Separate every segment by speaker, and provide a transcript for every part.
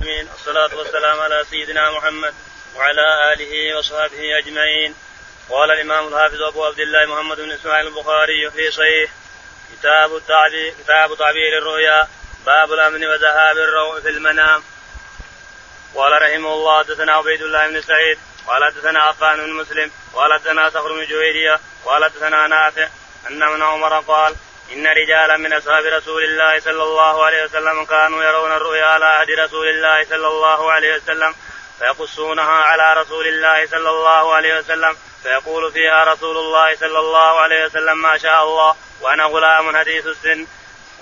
Speaker 1: العالمين والصلاة والسلام على سيدنا محمد وعلى آله وصحبه أجمعين قال الإمام الحافظ أبو عبد الله محمد بن إسماعيل البخاري في صحيح كتاب التعبير كتاب تعبير الرؤيا باب الأمن وذهاب الروع في المنام قال رحمه الله حدثنا عبيد الله بن سعيد قال حدثنا عفان بن مسلم قال حدثنا صخر بن جويرية قال حدثنا نافع أن ابن عمر قال إن رجالا من أصحاب رسول الله صلى الله عليه وسلم كانوا يرون الرؤيا على عهد رسول الله صلى الله عليه وسلم فيقصونها على رسول الله صلى الله عليه وسلم فيقول فيها رسول الله صلى الله عليه وسلم ما شاء الله وأنا غلام حديث السن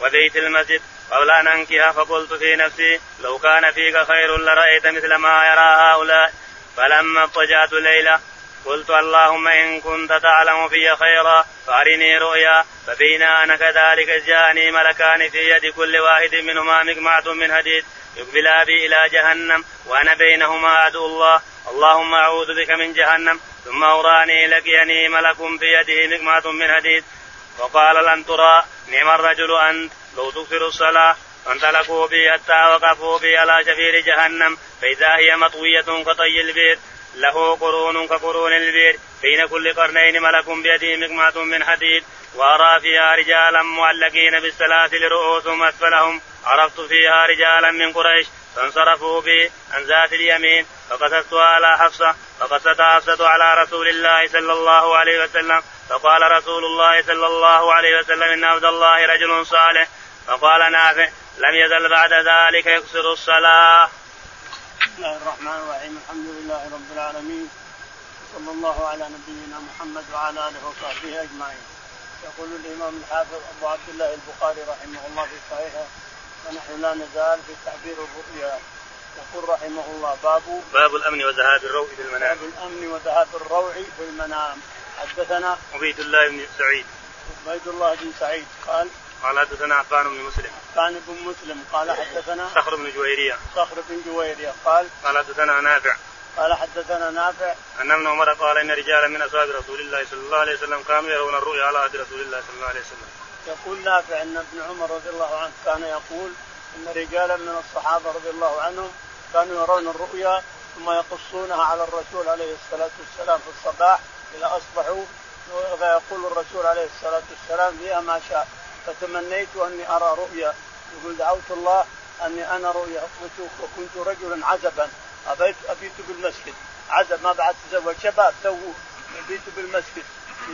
Speaker 1: وبيت المسجد قبل أن أنكها فقلت في نفسي لو كان فيك خير لرأيت مثل ما يرى هؤلاء فلما اضطجعت ليلة قلت اللهم إن كنت تعلم في خيرا فأرني رؤيا فبينا أنا كذلك جاءني ملكان في يد كل واحد منهما مقمعة من حديد يقبلا بي إلى جهنم وأنا بينهما عدو الله اللهم أعوذ بك من جهنم ثم أوراني لقيني ملك في يده مقمعة من حديد وقال لن ترى نعم الرجل أنت لو تكثر الصلاة فانطلقوا بي حتى وقفوا بي على شفير جهنم فإذا هي مطوية كطي البيت له قرون كقرون البير بين كل قرنين ملك بيده مقمعة من حديد وأرى فيها رجالا معلقين بالسلاسل رؤوسهم أسفلهم عرفت فيها رجالا من قريش فانصرفوا بي عن ذات اليمين فقصدت على حفصة فقصد حفصة على رسول الله صلى الله عليه وسلم فقال رسول الله صلى الله عليه وسلم إن عبد الله رجل صالح فقال نافع لم يزل بعد ذلك يكسر الصلاة
Speaker 2: بسم الله الرحمن الرحيم الحمد لله رب العالمين صلى الله على نبينا محمد وعلى اله وصحبه اجمعين يقول الامام الحافظ ابو عبد الله البخاري رحمه الله في صحيحه ونحن لا نزال في تعبير الرؤيا يقول رحمه الله باب
Speaker 1: باب الأمن وذهاب الروع في المنام
Speaker 2: باب الامن وذهاب الروع في المنام حدثنا
Speaker 1: عبيد الله بن سعيد
Speaker 2: عبيد الله بن سعيد قال
Speaker 1: قال حدثنا عفان بن مسلم
Speaker 2: كان بن مسلم قال حدثنا
Speaker 1: صخر بن جويرية
Speaker 2: صخر بن جويريه قال
Speaker 1: قال حدثنا نافع
Speaker 2: قال حدثنا نافع
Speaker 1: أن ابن عمر قال إن رجالا من أصحاب رسول الله صلى الله عليه وسلم كانوا يرون الرؤيا على عهد رسول الله صلى الله عليه وسلم
Speaker 2: يقول نافع ان ابن عمر رضي الله عنه كان يقول ان رجالا من الصحابه رضي الله عنهم كانوا يرون الرؤيا ثم يقصونها على الرسول عليه الصلاه والسلام في الصباح اذا اصبحوا فيقول الرسول عليه الصلاه والسلام فيها ما شاء فتمنيت اني ارى رؤيا يقول دعوت الله اني انا رؤيا اصبت وكنت رجلا عزبا ابيت ابيت بالمسجد عزب ما بعد تزوج شباب توه يبيت بالمسجد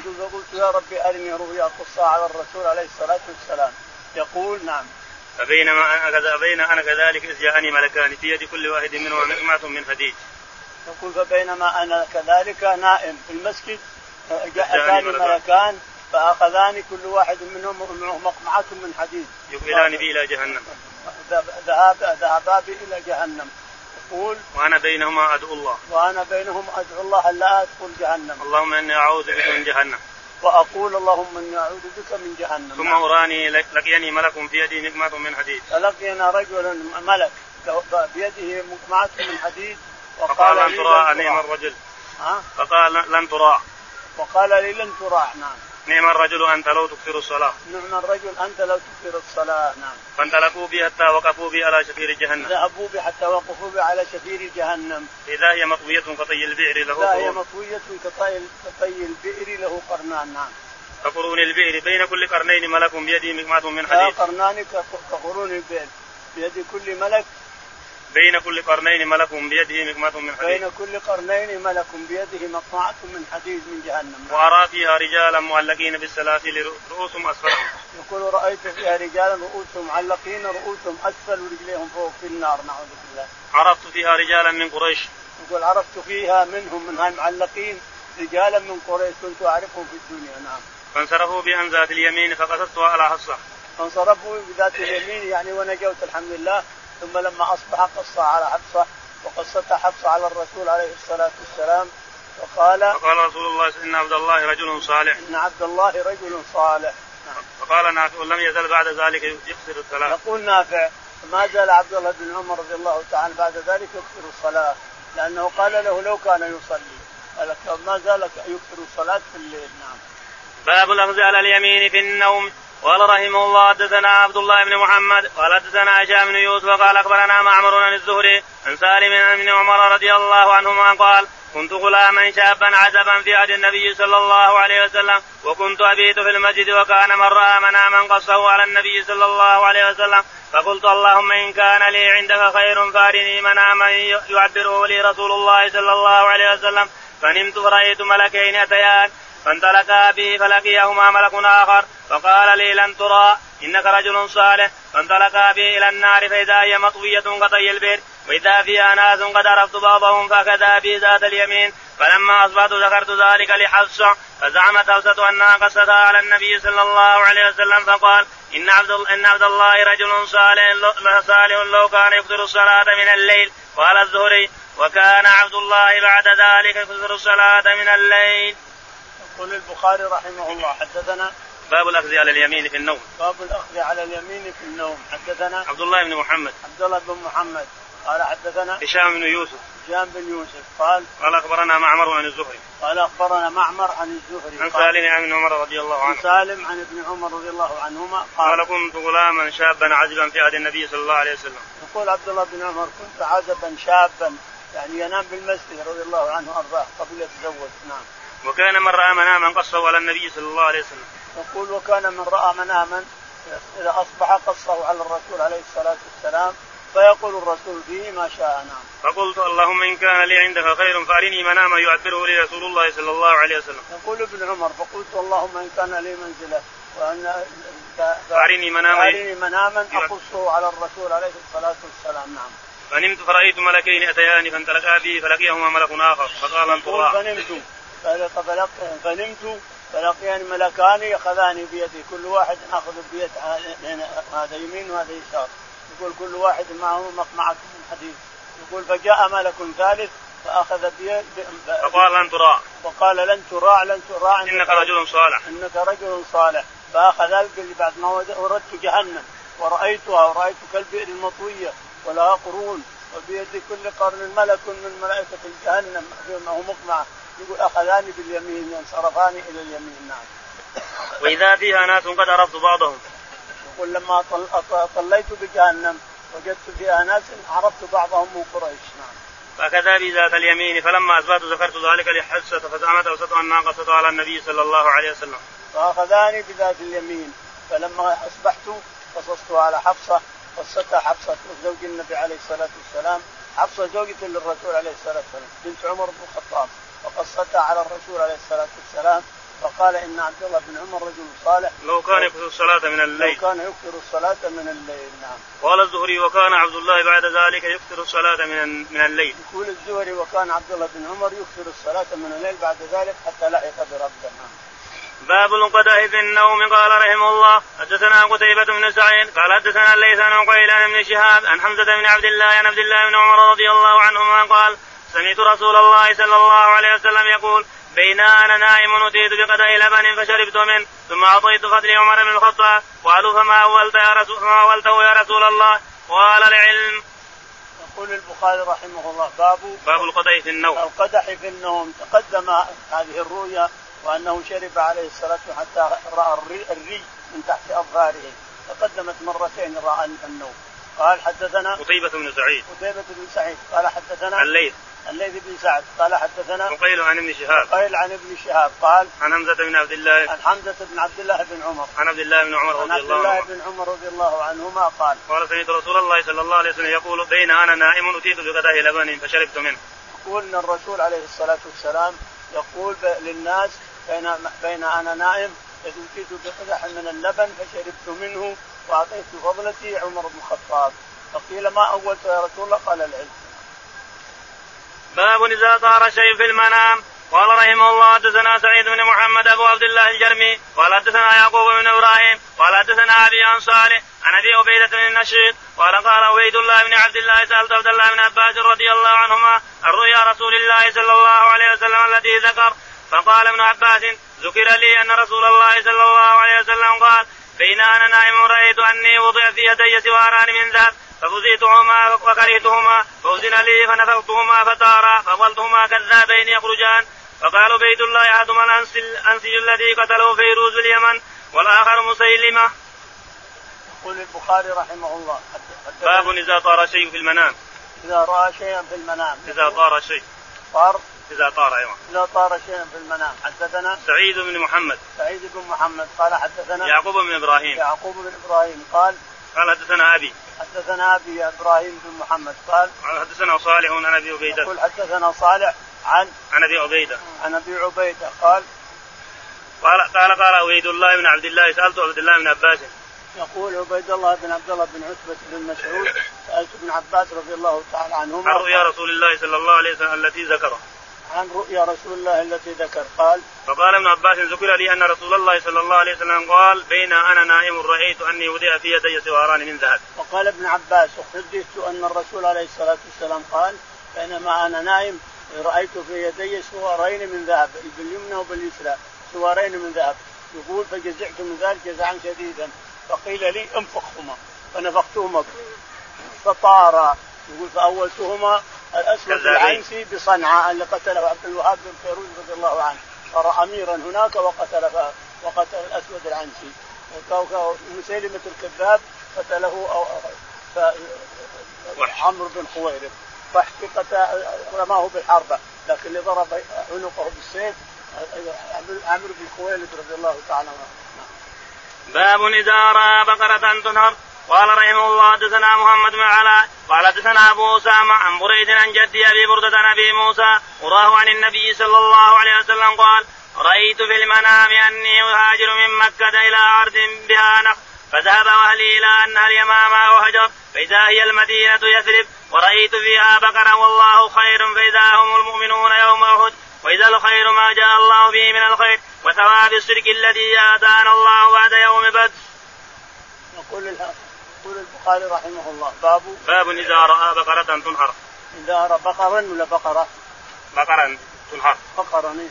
Speaker 2: يقول فقلت يا ربي ارني رؤيا اقصها على الرسول عليه الصلاه والسلام يقول نعم
Speaker 1: فبينما أنا كذا- بين أنا كذلك إذ جاءني ملكان في يد كل واحد منهما مقمعة من حديد
Speaker 2: يقول فبينما انا كذلك نائم في المسجد
Speaker 1: أتاني
Speaker 2: جاءتان
Speaker 1: ملكان.
Speaker 2: ملكان فاخذاني كل واحد منهم معه مقمعه من حديد
Speaker 1: يقبلان بي إلى جهنم
Speaker 2: ذهب- ذهب ذهبا بي الى جهنم يقول
Speaker 1: وأنا بينهما عدو الله
Speaker 2: وانا بينهم ادعو الله الا ادخل جهنم
Speaker 1: اللهم إني أعوذ بك من جهنم
Speaker 2: واقول اللهم اني اعوذ بك من جهنم
Speaker 1: ثم أراني لك- لقيني ملك في يدي مقمعة من حديد
Speaker 2: فلقينا رجلا ملك له- بيده مقمعة من حديد
Speaker 1: فقال
Speaker 2: وقال
Speaker 1: لن
Speaker 2: لي
Speaker 1: تراع
Speaker 2: لن
Speaker 1: نعم
Speaker 2: تراع
Speaker 1: الرجل
Speaker 2: ها؟
Speaker 1: فقال لن تراع
Speaker 2: وقال لي لن تراع نعم
Speaker 1: نعم الرجل أنت لو تكثر الصلاة
Speaker 2: نعم الرجل أنت لو تكثر الصلاة نعم
Speaker 1: فانطلقوا بي حتى وقفوا بي على شفير جهنم
Speaker 2: ذهبوا به حتى وقفوا به على شفير جهنم
Speaker 1: إذا هي مطوية كطي البئر له
Speaker 2: لا هي
Speaker 1: قرون.
Speaker 2: مطوية كطي كطي البئر له قرنان نعم
Speaker 1: كقرون البئر بين كل قرنين ملك بيده مقمعة من
Speaker 2: لا
Speaker 1: حديد
Speaker 2: قرنان ك- كقرون البئر بيد كل ملك
Speaker 1: بين كل قرنين ملك بيده مقمعة من حديد
Speaker 2: بين كل قرنين ملك بيده مقطعة من حديد من جهنم نعم.
Speaker 1: وأرى فيها رجالا معلقين بالسلاسل رؤوسهم أسفلهم
Speaker 2: يقول رأيت فيها رجالا رؤوسهم معلقين رؤوسهم أسفل ورجليهم فوق في النار نعوذ بالله
Speaker 1: عرفت فيها رجالا من قريش
Speaker 2: يقول عرفت فيها منهم من المعلقين رجالا من قريش كنت أعرفهم في الدنيا نعم
Speaker 1: فانصرفوا بأن ذات اليمين فقصدتها على حفصة
Speaker 2: فانصرفوا بذات اليمين يعني ونجوت الحمد لله ثم لما اصبح قص على حفصه وقصتها حفصه على الرسول عليه الصلاه والسلام وقال
Speaker 1: فقال رسول الله إن عبد الله رجل صالح
Speaker 2: ان عبد الله رجل صالح نعم.
Speaker 1: فقال نافع لم يزل بعد ذلك يكثر الصلاة
Speaker 2: يقول نافع ما زال عبد الله بن عمر رضي الله تعالى بعد ذلك يكثر الصلاه لانه قال له لو كان يصلي قال ما زال يكثر الصلاه في الليل نعم
Speaker 1: باب الأخذ على اليمين في النوم قال رحمه الله حدثنا عبد الله بن محمد قال حدثنا هشام بن يوسف قال اخبرنا معمر عن الزهري عن سالم بن عمر رضي الله عنهما قال كنت غلاما شابا عزبا في عهد النبي صلى الله عليه وسلم وكنت ابيت في المسجد وكان من راى مناما قصه على النبي صلى الله عليه وسلم فقلت اللهم ان كان لي عندك خير فارني مناما يعبره لي رسول الله صلى الله عليه وسلم فنمت فرايت ملكين اتيان فانطلقا به فلقيهما ملك آخر فقال لي لن ترى إنك رجل صالح فانطلقا به إلى النار فإذا هي مطوية كطي البئر وإذا فيها ناس قد عرفت بعضهم فأخذا بي ذات اليمين فلما أصبحت ذكرت ذلك لحفصة فزعمت حفصة أنها قصتها على النبي صلى الله عليه وسلم فقال إن عبد إن عبد الله رجل صالح صالح لو كان يكثر الصلاة من الليل قال الزهري وكان عبد الله بعد ذلك يكثر الصلاة من الليل.
Speaker 2: يقول البخاري رحمه الله حدثنا
Speaker 1: باب الاخذ على اليمين في النوم
Speaker 2: باب الاخذ على اليمين في النوم حدثنا
Speaker 1: عبد الله بن محمد
Speaker 2: عبد الله بن محمد قال حدثنا
Speaker 1: هشام بن يوسف
Speaker 2: هشام بن يوسف قال
Speaker 1: قال اخبرنا معمر عن الزهري
Speaker 2: قال اخبرنا معمر عن الزهري
Speaker 1: عن سالم عن ابن عمر رضي الله
Speaker 2: عن
Speaker 1: عنه
Speaker 2: سالم عن ابن عمر رضي الله عنهما قال
Speaker 1: قال كنت غلاما شابا عزبا في عهد النبي صلى الله عليه وسلم
Speaker 2: يقول عبد الله بن عمر كنت عزبا شابا يعني ينام بالمسجد رضي الله عنه وارضاه قبل يتزوج نعم
Speaker 1: وكان من راى مناما قصه على النبي صلى الله عليه وسلم
Speaker 2: يقول وكان من راى مناما اذا اصبح قصه على الرسول عليه الصلاه والسلام فيقول الرسول فيه ما شاء نعم
Speaker 1: فقلت اللهم ان كان لي عندك خير فارني مناما يعبره لي رسول الله صلى الله عليه وسلم
Speaker 2: يقول ابن عمر فقلت اللهم ان كان لي منزله وان ف- ف-
Speaker 1: فارني مناما
Speaker 2: أرني مناما اقصه على الرسول عليه الصلاه والسلام نعم
Speaker 1: فنمت فرايت ملكين اتيان فانطلقا بي فلقيهما ملك اخر فقال ان
Speaker 2: يقول
Speaker 1: تراه
Speaker 2: فنمت فلق- فلق- فنمت فلقيان ملكان اخذاني بيدي كل واحد اخذ بيد هذا- هذا يمين وهذا يسار يقول كل واحد معه مقمعة من حديد يقول فجاء ملك ثالث فاخذ بيد
Speaker 1: فقال ان تراه
Speaker 2: وقال لن تراع لن تراع
Speaker 1: انك رجل صالح
Speaker 2: انك رجل صالح فاخذ الكلب بعد ما ود- وردت جهنم ورايتها ورايت كالبئر المطويه ولها قرون وبيد كل قرن ملك من ملائكه جهنم فيما هو مقمعه يقول اخذاني باليمين انصرفاني الى اليمين نعم
Speaker 1: واذا فيها ناس قد عرفت بعضهم
Speaker 2: يقول لما طل- أط- طليت بجهنم وجدت فيها ناس عرفت بعضهم من قريش نعم
Speaker 1: فكذا بي ذات اليمين فلما اثبت ذكرت ذلك لحفصه فزعمت حفصه انها قصته على النبي صلى الله عليه وسلم
Speaker 2: فاخذاني بذات اليمين فلما اصبحت قصصت على حفصه قصتها حفصه زوج النبي عليه الصلاه والسلام حفصه زوجة للرسول عليه الصلاه والسلام بنت عمر بن الخطاب وقصتها على الرسول عليه الصلاه والسلام فقال ان عبد الله بن عمر رجل صالح
Speaker 1: لو كان يكثر الصلاه من
Speaker 2: لو
Speaker 1: الليل
Speaker 2: كان يكثر الصلاه من الليل نعم
Speaker 1: قال الزهري وكان عبد الله بعد ذلك يكثر الصلاه من من الليل
Speaker 2: يقول الزهري وكان عبد الله بن عمر يكثر الصلاه من الليل بعد ذلك حتى لحق بربه نعم
Speaker 1: باب القدح في النوم قال رحمه الله حدثنا قتيبة بن سعيد قال حدثنا الليث عن عقيل عن ابن شهاب عن حمزة بن عبد الله عن عبد الله بن عمر رضي الله عنهما قال سمعت رسول الله صلى الله عليه وسلم يقول بين انا نائم اتيت بقدح لبن فشربت منه ثم اعطيت فضلي عمر بن الخطاب قالوا فما اولت يا رسول فما اولته يا رسول الله قال العلم
Speaker 2: يقول البخاري رحمه الله باب
Speaker 1: باب القدح في النوم
Speaker 2: القدح في النوم تقدم هذه الرؤيا وانه شرب عليه الصلاه والسلام حتى راى الري, الري من تحت اظهاره تقدمت مرتين راى النوم قال حدثنا
Speaker 1: قتيبة بن سعيد
Speaker 2: قتيبة بن سعيد قال حدثنا
Speaker 1: الليث
Speaker 2: الليث بن سعد قال حدثنا
Speaker 1: عقيل عن ابن شهاب
Speaker 2: قيل عن ابن شهاب قال
Speaker 1: عن حمزة بن عبد الله
Speaker 2: عن حمزه بن عبد الله بن عمر
Speaker 1: عن عبد الله بن عمر
Speaker 2: عن
Speaker 1: رضي
Speaker 2: عبد
Speaker 1: الله
Speaker 2: الله
Speaker 1: عنه
Speaker 2: بن عمر رضي الله عنهما قال
Speaker 1: قال سمعت رسول الله صلى الله عليه وسلم يقول بين انا نائم اتيت بقدح لبن فشربت منه
Speaker 2: يقول ان الرسول عليه الصلاه والسلام يقول ب- للناس بين بين انا نائم اذ اتيت بقدح من اللبن فشربت منه واعطيت فضلتي عمر بن الخطاب فقيل ما اولت يا رسول الله قال العلم
Speaker 1: باب اذا طار شيء في المنام قال رحمه الله حدثنا سعيد بن محمد ابو عبد الله الجرمي قال حدثنا يعقوب بن ابراهيم قال حدثنا ابي عن صالح عن ابي عبيده بن النشيط قال قال عبيد الله بن عبد الله سالت عبد الله بن عباس رضي الله عنهما الرؤيا رسول الله صلى الله عليه وسلم التي ذكر فقال ابن عباس ذكر لي ان رسول الله صلى الله عليه وسلم قال بين انا نائم رايت اني وضع في يدي سواران من ذهب ففزيتهما وكرهتهما فأذن لي فنفختهما فتارا فظلتهما كذابين يخرجان فقال بيت الله احدهما الانسج الذي قتله فيروز باليمن والآخر مسيلمة
Speaker 2: يقول البخاري رحمه الله حد- حد-
Speaker 1: باب إذا طار شيء في المنام
Speaker 2: إذا رأى شيئا في المنام
Speaker 1: إذا طار شيء
Speaker 2: طار
Speaker 1: إذا طار أيوة
Speaker 2: إذا طار شيئا في المنام حدثنا
Speaker 1: سعيد بن محمد
Speaker 2: سعيد بن محمد قال حدثنا
Speaker 1: يعقوب بن إبراهيم
Speaker 2: يعقوب بن إبراهيم قال
Speaker 1: قال حدثنا أبي
Speaker 2: حدثنا أبي إبراهيم بن محمد قال
Speaker 1: قال حدثنا صالح عن أبي عبيدة
Speaker 2: يقول حدثنا صالح عن
Speaker 1: عن أبي عبيدة
Speaker 2: عن أبي عبيدة قال
Speaker 1: قال قال قال عبيد الله بن عبد الله سألت عبد الله بن عباس
Speaker 2: يقول عبيد الله بن عبد الله بن عتبة بن مسعود سألت ابن عباس رضي الله تعالى عنهما
Speaker 1: عن رؤيا رسول الله صلى الله عليه وسلم التي ذكره
Speaker 2: عن رؤيا رسول الله التي ذكر قال
Speaker 1: فقال ابن عباس ذكر لي أن رسول الله صلى الله عليه وسلم قال بين أنا نائم رأيت أني وضع في يدي سواران من ذهب
Speaker 2: وقال ابن عباس وحدثت ان الرسول عليه الصلاه والسلام قال بينما انا نائم رايت في يدي سوارين من ذهب باليمنى وباليسرى سوارين من ذهب يقول فجزعت من ذلك جزعا شديدا فقيل لي انفخهما فنفختهما فطارا يقول فاولتهما الاسود
Speaker 1: كذلك.
Speaker 2: العنسي بصنعاء اللي قتله عبد الوهاب بن فيروز رضي الله عنه صار اميرا هناك وقتل وقتل الاسود العنسي وكوكب مسيلمة الكذاب قتله أو
Speaker 1: وحش.
Speaker 2: عمرو بن خويرب فاحتقت رماه بالحربة لكن اللي ضرب عنقه بالسيف آه، عمرو بن خويلد رضي الله تعالى عنه نعم.
Speaker 1: باب إذا رأى بقرة تنهر قال رحمه الله حدثنا محمد بن علاء قال حدثنا أبو أسامة عن بريد عن جد أبي بردة عن أبي موسى وراه عن النبي صلى الله عليه وسلم قال رأيت في المنام أني أهاجر من مكة إلى أرض بها نخل فذهب أهلي إلى أنها اليمامة وهجر فإذا هي المدينة يثرب ورأيت فيها بقرة والله خير فإذا هم المؤمنون يوم أحد وإذا الخير ما جاء الله به من الخير وثواب الشرك الذي آتانا الله بعد يوم بدر
Speaker 2: يقول ال- يقول البخاري رحمه الله باب
Speaker 1: باب إذا رأى بقرة تنهر
Speaker 2: إذا أرى بقرا ولا بقرة؟
Speaker 1: بقرة تنهر
Speaker 2: بقرا إيه.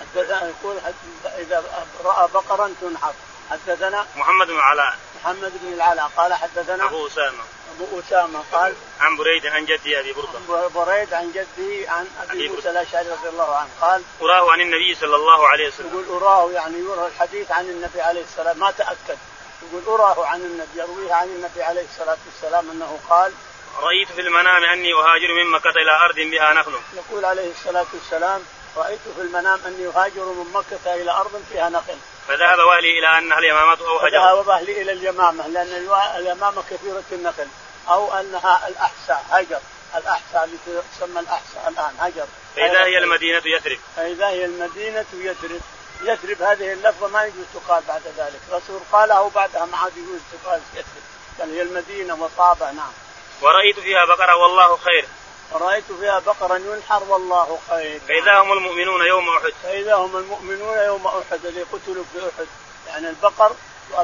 Speaker 2: حدثنا يقول حد- إذا رأى بقرا تنحر حدثنا
Speaker 1: محمد بن علاء
Speaker 2: محمد بن العلاء قال حدثنا
Speaker 1: أبو أسامة
Speaker 2: أبو أسامة قال
Speaker 1: عن بريد عن جدي أبي بردة
Speaker 2: بريد عن جده عن
Speaker 1: أبي
Speaker 2: ابي موسى الاشعري رضي الله عنه قال
Speaker 1: وراه عن النبي صلى الله عليه وسلم
Speaker 2: يقول اراه يعني يرى الحديث عن النبي عليه السلام ما تاكد يقول اراه عن النبي يرويه عن النبي عليه الصلاه والسلام انه قال
Speaker 1: رأيت في المنام أني أهاجر من مكة إلى أرض بها نخل
Speaker 2: يقول عليه الصلاه والسلام رايت في المنام اني اهاجر من مكه الى ارض فيها نخل
Speaker 1: فذهب وأهلي إلى أنها اليمامة أو هجر
Speaker 2: فذهب اهلي الى اليمامه لان الوا- اليمامه كثيره النخل او انها الاحساء هجر الاحساء اللي تسمى الاحساء الان هجر
Speaker 1: فإذا هي المدينة يثرب
Speaker 2: فإذا هي المدينة يثرب يثرب هذه اللفظة ما يجوز تقال بعد ذلك الرسول قالها وبعدها ما عاد يجوز تقال يثرب بل هي المدينة وصابة نعم
Speaker 1: ورأيت فيها بقرة والله خير
Speaker 2: ورأيت فيها بقرا ينحر والله خير
Speaker 1: فإذا هم المؤمنون يوم أحد
Speaker 2: فإذا هم المؤمنون يوم أحد اللي قتلوا في أحد يعني البقر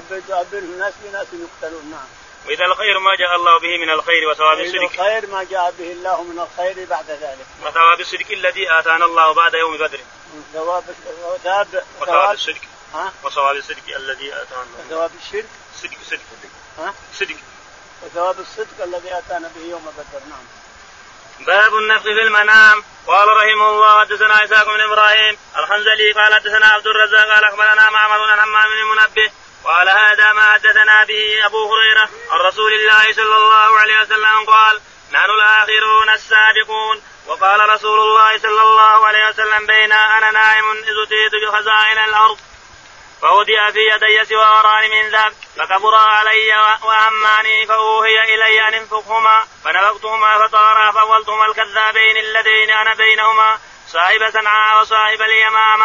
Speaker 2: تؤبرهم ناس بناس يقتلون نعم
Speaker 1: وإذا الخير ما جاء الله به من الخير وثواب
Speaker 2: فإذا
Speaker 1: الشرك
Speaker 2: خير ما جاء به الله من الخير بعد ذلك
Speaker 1: وثواب الشرك الذي آتانا الله بعد يوم بدر
Speaker 2: من ثواب ثواب
Speaker 1: وثواب الشرك
Speaker 2: ها
Speaker 1: وثواب الصدق الذي آتانا الله
Speaker 2: ثواب الشرك
Speaker 1: صدق صدق
Speaker 2: ها
Speaker 1: صدق
Speaker 2: وثواب الصدق الذي اتانا به يوم بدر نعم
Speaker 1: باب النفخ في المنام قال رحمه الله حدثنا اسحاق بن ابراهيم الحنزلي قال حدثنا عبد الرزاق قال اخبرنا معمر عن حمام بن منبه قال هذا ما حدثنا به ابو هريره عن رسول الله صلى الله عليه وسلم قال نحن الاخرون السابقون وقال رسول الله صلى الله عليه وسلم بين انا نائم اذ اتيت بخزائن الارض فوضع في يدي سواران من ذهب فكبرا علي و- وهماني فأوهي إلي أن انفخهما فنفختهما فطارا فولتهما الكذابين اللذين أنا بينهما صاحب صنعاء وصاحب اليمامة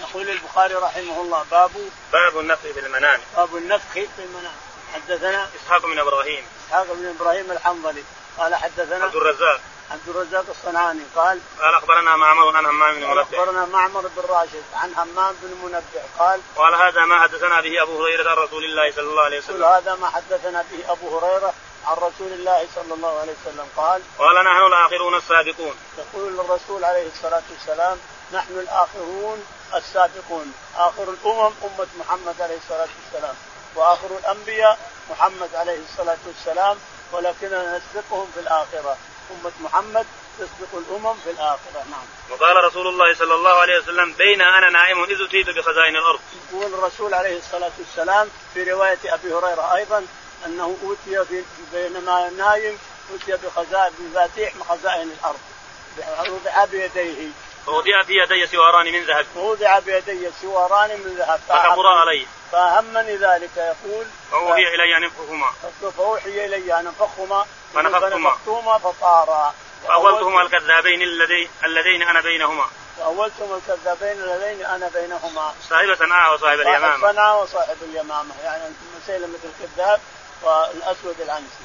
Speaker 2: يقول البخاري رحمه الله باب
Speaker 1: باب النفخ في المنام
Speaker 2: باب النفخ في المنام حدثنا
Speaker 1: إسحاق بن إبراهيم
Speaker 2: اسحاق بن ابراهيم الحنظلي قال حدثنا
Speaker 1: عبد الرزاق
Speaker 2: عبد الرزاق الصنعاني قال
Speaker 1: قال أخبرنا معمر عن همام بن منبه
Speaker 2: اخبرنا معمر بن راشد عن همام بن منبع قال
Speaker 1: قال هذا ما حدثنا به أبو هريرة عن رسول الله صلى الله عليه
Speaker 2: كل
Speaker 1: وسلم
Speaker 2: هذا ما حدثنا به ابو هريره عن رسول الله صلى الله عليه وسلم قال
Speaker 1: قال نحن الآخرون السابقون
Speaker 2: يقول الرسول عليه الصلاه والسلام نحن الاخرون السابقون اخر الامم امه محمد عليه الصلاه والسلام واخر الانبياء محمد عليه الصلاه والسلام ولكننا نسبقهم في الاخره امه محمد تسبق الامم في الاخره نعم
Speaker 1: وقال رسول الله صلى الله عليه وسلم بين انا نائم اذ اتيت بخزائن الارض
Speaker 2: يقول الرسول عليه الصلاه والسلام في روايه ابي هريره ايضا انه اوتي في- بينما نايم اوتي بخزائن مفاتيح خزائن الارض وضع بيديه
Speaker 1: فوضع في يدي سواران من ذهب
Speaker 2: ووضع بيدي سواران من ذهب
Speaker 1: فكبرا علي
Speaker 2: فاهمني ذلك يقول
Speaker 1: فأوحي الي ان انفخهما
Speaker 2: فأوحي إلي أن انفخهما
Speaker 1: فنفختما.
Speaker 2: فنفختهما فطارا
Speaker 1: فاولتهما الكذابين اللذين اللذين انا بينهما
Speaker 2: فأولتم الكذابين اللذين أنا بينهما
Speaker 1: صاحب صنعاء وصاحب
Speaker 2: صاحب
Speaker 1: اليمامه
Speaker 2: صنعاء وصاحب اليمامة يعني مسيلمة الكذاب والأسود العنسي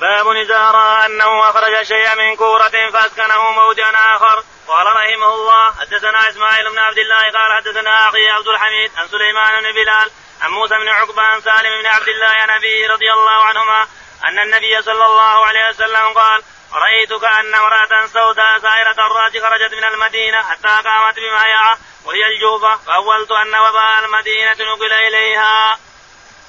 Speaker 1: باب إذا رأى أنه أخرج شيئا من كورة فأسكنه موضعا آخر قال رحمه الله حدثنا إسماعيل بن عبد الله قال حدثنا أخي عبد الحميد عن سليمان بن بلال عن موسى بن عقبة عن سالم بن عبد الله عن أبيه رضي الله عنهما أن النبي صلى الله عليه وسلم قال رأيتك أن امرأة سوداء سائرة الراج خرجت من المدينة حتى قامت بمعيعة وهي الجوفة فأولت أن وباء المدينة نقل إليها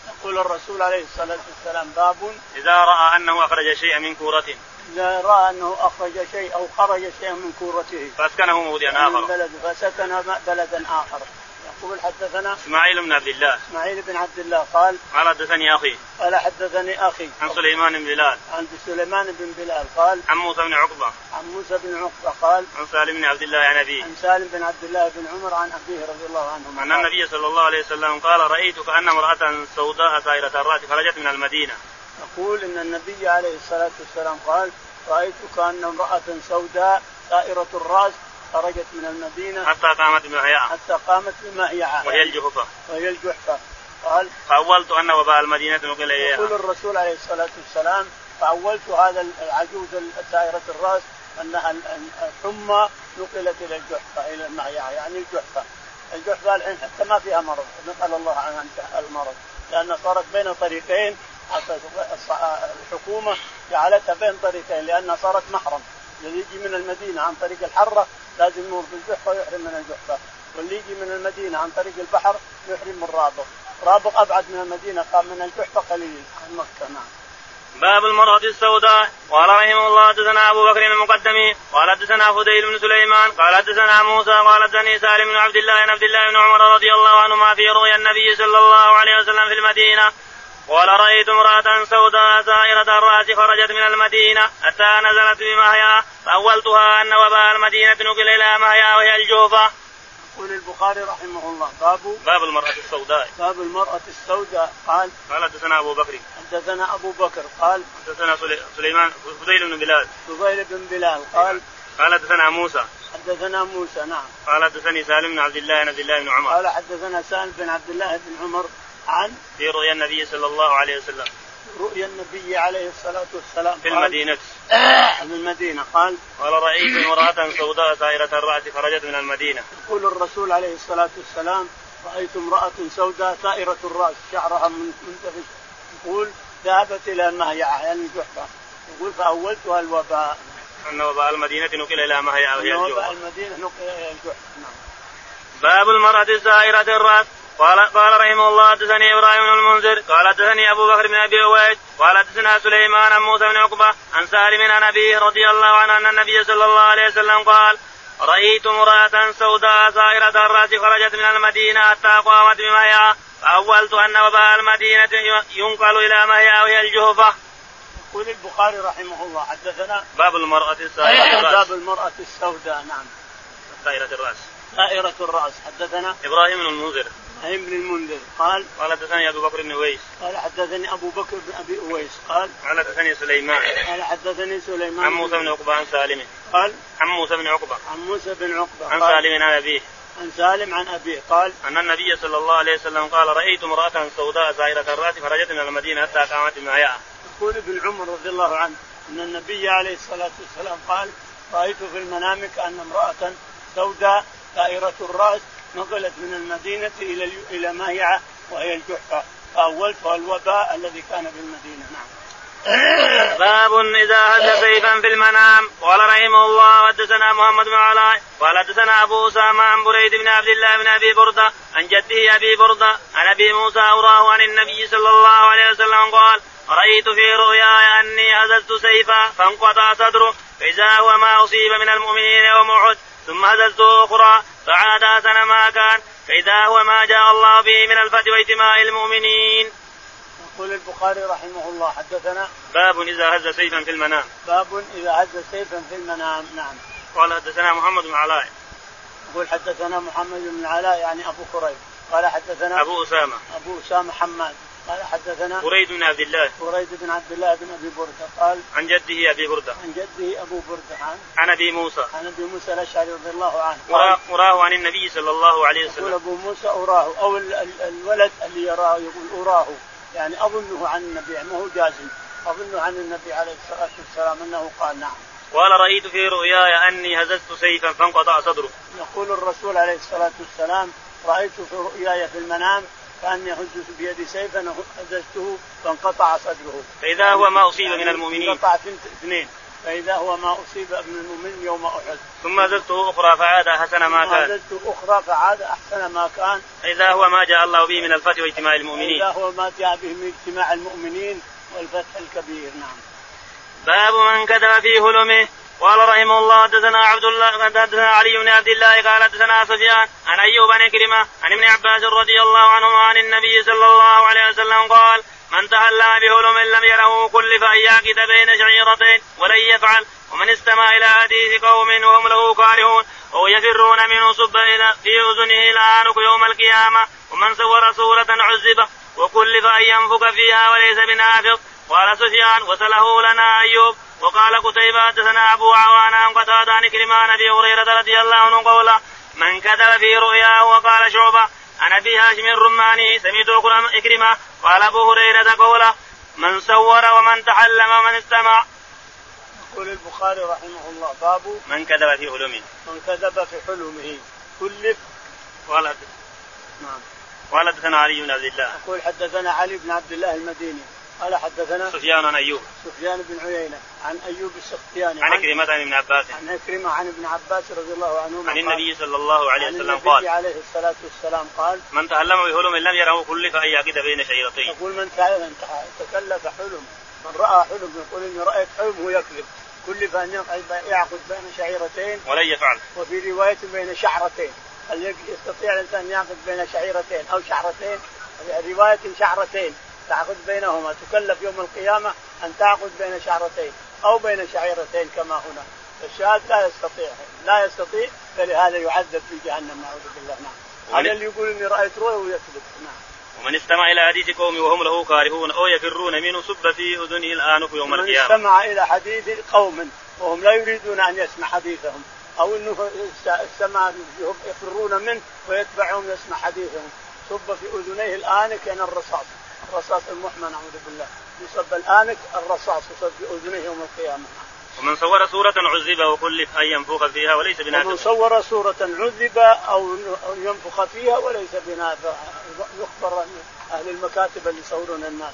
Speaker 2: يقول الرسول عليه الصلاة والسلام باب
Speaker 1: إذا رأى أنه أخرج شيئا من كورة
Speaker 2: إذا رأى أنه أخرج شيء أو خرج شيء من كورته
Speaker 1: فأسكنه موضعا
Speaker 2: من
Speaker 1: آخر
Speaker 2: بلد فسكن بلدا آخر يقول حدثنا
Speaker 1: اسماعيل بن عبد الله
Speaker 2: إسماعيل بن عبد الله قال
Speaker 1: قال حدثني اخي
Speaker 2: قال حدثني أخي
Speaker 1: عن سليمان بن بلال
Speaker 2: عن سليمان بن بلال قال
Speaker 1: عن موسى بن عقبه
Speaker 2: عن موسى بن عقبة قال
Speaker 1: عن سالم بن عبد الله عن ابيه
Speaker 2: عن سالم بن عبد الله بن عمر عن أبيه رضي الله عنهما
Speaker 1: ان
Speaker 2: قال.
Speaker 1: النبي صلى الله عليه وسلم قال رايت كان امراه سوداء سائره الراس خرجت من المدينه
Speaker 2: يقول ان النبي عليه الصلاه والسلام قال رايت كان امراه سوداء سائره الراس خرجت من المدينه
Speaker 1: حتى قامت بمحياها
Speaker 2: حتى قامت بمائعها
Speaker 1: أه. وهي الجحفه
Speaker 2: وهي الجحفه قال
Speaker 1: فاولت ان وباء المدينه نقل
Speaker 2: يقول
Speaker 1: اليها
Speaker 2: الرسول عليه الصلاه والسلام فاولت هذا العجوز سائره الراس انها ال- ال- الحمى نقلت الى الجحفه الى المعيعه يعني الجحفه الجحفه الحين حتى ما فيها مرض نسال الله عنها ان تحل المرض لان صارت بين طريقين حتى الص- الحكومه جعلتها بين طريقين لانها صارت محرم اللي يجي من المدينه عن طريق الحره لازم يمر بالجحفه ويحرم من الجحفه واللي يجي من المدينه عن طريق البحر يحرم من رابغ رابغ ابعد من المدينه قام من الجحفه قليل عن مكه نعم
Speaker 1: باب المرأة السوداء قال رحمه الله حدثنا أبو بكر المقدمي قال حدثنا فديل بن سليمان قال حدثنا موسى قال حدثني سالم بن عبد الله بن عبد الله بن عمر رضي الله عنهما في رؤيا النبي صلى الله عليه وسلم في المدينة قال رأيت امرأة سوداء سائرة الرأس خرجت من المدينة حتى نزلت بمهيا فأولتها أن وباء المدينة نقل إلى مهيا وهي الجوفة
Speaker 2: يقول البخاري رحمه الله باب
Speaker 1: باب المرأة السوداء
Speaker 2: باب المرأة السوداء قال
Speaker 1: قال حدثنا أبو بكر
Speaker 2: حدثنا أبو بكر قال
Speaker 1: حدثنا سلي- سليمان فديل بن بلال
Speaker 2: زبير بن بلال قال
Speaker 1: قال حدثنا موسى
Speaker 2: حدثنا موسى نعم
Speaker 1: قال حدثني سالم بن عبد الله بن عبد الله بن عمر
Speaker 2: قال حدثنا سالم بن عبد الله بن عمر عن
Speaker 1: في رؤيا النبي صلى الله عليه وسلم
Speaker 2: رؤيا النبي عليه الصلاة والسلام
Speaker 1: في
Speaker 2: قال-
Speaker 1: المدينة
Speaker 2: في المدينة قال
Speaker 1: قال رأيت امرأة سوداء سائرة الرأس خرجت من المدينة
Speaker 2: يقول الرسول عليه الصلاة والسلام رأيت امرأة سوداء سائرة الرأس شعرها من- منتفش يقول ذهبت إلى المهيعة يعني الجحفة يقول فأولتها الوباء
Speaker 1: أن وباء المدينة نقل إلى ما هي وهي
Speaker 2: أن وباء
Speaker 1: الجوع
Speaker 2: المدينة نقل إلى الجحفة نعم
Speaker 1: باب المرأة سائرة الرأس قال قال رحمه الله حدثني ابراهيم بن المنذر قال حدثني ابو بكر بن ابي اويس قال حدثنا سليمان عن موسى بن عقبه عن سالم عن ابيه رضي الله عنه ان النبي صلى الله عليه وسلم قال رايت امراه سوداء سائره الراس خرجت من المدينه حتى قامت بمهيا فاولت ان وباء المدينه ينقل الى مهيا وهي الجهفه
Speaker 2: يقول البخاري رحمه الله حدثنا
Speaker 1: باب المراه سائره الراس
Speaker 2: باب المرأة السوداء نعم
Speaker 1: سائره الراس
Speaker 2: سائرة الرأس حدثنا
Speaker 1: ابراهيم بن المنذر
Speaker 2: ابراهيم بن المنذر قال
Speaker 1: قال حدثني ابو بكر بن اويس
Speaker 2: قال حدثني أبو بكر بن أبي أويس قال
Speaker 1: قال حدثني سليمان
Speaker 2: قال حدثني سليمان
Speaker 1: عن موسى بن عقبه عن سالم
Speaker 2: قال
Speaker 1: عن موسى بن عقبه
Speaker 2: عن موسى بن عقبة
Speaker 1: عن
Speaker 2: قال-
Speaker 1: سالم عن أبيه
Speaker 2: عن سالم عن أبيه قال
Speaker 1: أن النبي صلى الله عليه وسلم قال رأيت امرأة سوداء زائرة الرأس خرجت من المدينة حتى قامت بمعياء
Speaker 2: يقول ابن عمر رضي الله عنه ان النبي عليه الصلاه والسلام قال رايت في المنام كان امراه سوداء دائره الراس نقلت من المدينه الى الي- الى مايعه وهي الجحفه فاولتها الوباء الذي كان في المدينه نعم.
Speaker 1: باب إذا هز سيفا في المنام قال رحمه الله حدثنا محمد بن علاء قال حدثنا أبو أسامة عن بريد بن عبد الله بن أبي بردة عن جده أبي بردة عن أبي موسى أوراه عن النبي صلى الله عليه وسلم قال رأيت في رؤياي أني هززت سيفا فانقطع صدره فإذا هو ما أصيب من المؤمنين يوم أحد ثم هزته أخرى فعاد أسن ما كان فإذا هو ما جاء الله به من الفتح واجتماع المؤمنين
Speaker 2: يقول البخاري رحمه الله حدثنا
Speaker 1: باب إذا هز سيفا في المنام
Speaker 2: باب اذا هز سيفا في المنام نعم
Speaker 1: قال حدثنا محمد بن علاء
Speaker 2: يقول حدثنا محمد بن علاء يعني ابو كريب قال حدثنا
Speaker 1: أبو أسامة
Speaker 2: ابو اسامه حماد قال حدثنا
Speaker 1: بريد بن عبد الله
Speaker 2: بريد بن عبد الله بن ابي برده قال
Speaker 1: عن جده أبي بردة
Speaker 2: عن جده ابو برده عن
Speaker 1: عن أبي موسى
Speaker 2: عن ابي موسى الاشعري رضي الله عنه قال
Speaker 1: وراه, وراه عن النبي صلى الله عليه
Speaker 2: يقول
Speaker 1: وسلم
Speaker 2: ابو موسى اراه او ال- ال- الولد اللي يراه يقول اراه يعني اظنه عن النبي ما هو جازم اظنه عن النبي عليه الصلاه والسلام انه قال نعم
Speaker 1: قال رأيت في رؤياي أني هززت سيفا فانقطع صدره
Speaker 2: يقول الرسول عليه الصلاة والسلام رأيت في رؤياي في المنام كأني أهز بيدي سيفا هززته فانقطع صدره
Speaker 1: فإذا هو ما أصيب من المؤمنين
Speaker 2: انقطع اثنت- اثنين فإذا هو ما أصيب من المؤمن يوم أحد
Speaker 1: ثم هززته أخرى فعاد أحسن ما
Speaker 2: ثم
Speaker 1: كان
Speaker 2: هززته أخرى فعاد أحسن ما كان
Speaker 1: فإذا هو ما جاء الله به من الفتح واجتماع
Speaker 2: إذا
Speaker 1: المؤمنين
Speaker 2: هو ما جاء به من اجتماع المؤمنين والفتح الكبير نعم
Speaker 1: باب من كتب في هلمه قال رحمه الله حدثنا عبد الله حدثنا علي بن عبد الله قال حدثنا سفيان عن ايوب بن كرمه عن ابن عباس رضي الله عنهما عن النبي صلى الله عليه وسلم قال من تهلى بهلم لم يره كلف ان يعقد بين شعيرتين ولن يفعل ومن استمع الى حديث قوم وهم له كارهون او يفرون منه صب الى في اذنه لعنك يوم القيامه ومن سور سوره عذبه وكلف ان ينفق فيها وليس بنافق قال سفيان وتله لنا ايوب وقال قتيبة حدثنا ابو عوان عن قتادة عن كريم عن ابي هريرة رضي الله عنه قولا من كذب في رؤياه وقال شعبة عن ابي هاشم الرماني سمعت كريمة قال ابو هريرة قولا من صور ومن تحلم ومن استمع
Speaker 2: يقول البخاري رحمه الله باب
Speaker 1: من كذب في علومه
Speaker 2: من كذب في حلمه كلف
Speaker 1: قال
Speaker 2: نعم
Speaker 1: قال حدثنا علي بن عبد الله
Speaker 2: يقول حدثنا علي بن عبد الله المديني قال حدثنا
Speaker 1: سفيان عن ايوب
Speaker 2: سفيان بن عيينه عن ايوب السختياني
Speaker 1: عن كريمة عن ابن عباس
Speaker 2: عن عكرمه عن ابن عباس رضي الله عنهما
Speaker 1: عن
Speaker 2: قال-
Speaker 1: النبي صلى الله عليه
Speaker 2: عن
Speaker 1: وسلم
Speaker 2: النبي
Speaker 1: قال
Speaker 2: عليه الصلاه والسلام قال
Speaker 1: من تهلم بهلم لم يره كلف ان يعقد بين شعيرتين
Speaker 2: يقول من تعلم تكلف حلم من راى حلم يقول اني رايت حلم هو يكذب كلف ان يقعد- يعقد بين شعيرتين
Speaker 1: ولن يفعل
Speaker 2: وفي روايه بين شعرتين هل يق- يستطيع الانسان يعقد بين شعيرتين او شعرتين روايه شعرتين تعقد بينهما تكلف يوم القيامه ان تعقد بين شعرتين او بين شعيرتين كما هنا الشاهد لا يستطيع لا يستطيع فلهذا يعذب في جهنم نعوذ بالله نعم
Speaker 1: ومن-
Speaker 2: هذا اللي يقول اني رايت رؤيا ويكذب نعم
Speaker 1: ومن استمع إلى حديث قوم وهم له كارهون أو يفرون منه صب في أذنه الآنف يوم
Speaker 2: من
Speaker 1: القيامة
Speaker 2: استمع الى حديث قوم وهم لا يريدون ان يسمع حديثهم او انه سمع يفرون منه ويتبعهم يسمع حديثهم صب في اذنيه الانك يعني الرصاص الرصاص المحمى نعوذ بالله يصب الانك الرصاص يصب في اذنيه يوم القيامه
Speaker 1: ومن صور صورة عذب وكلف أن ينفخ فيها وليس
Speaker 2: ومن
Speaker 1: بنافق
Speaker 2: صور صورة عذب أو أو ينفخ فيها وليس بنافع يخبر عن أهل المكاتب اللي يصورون الناس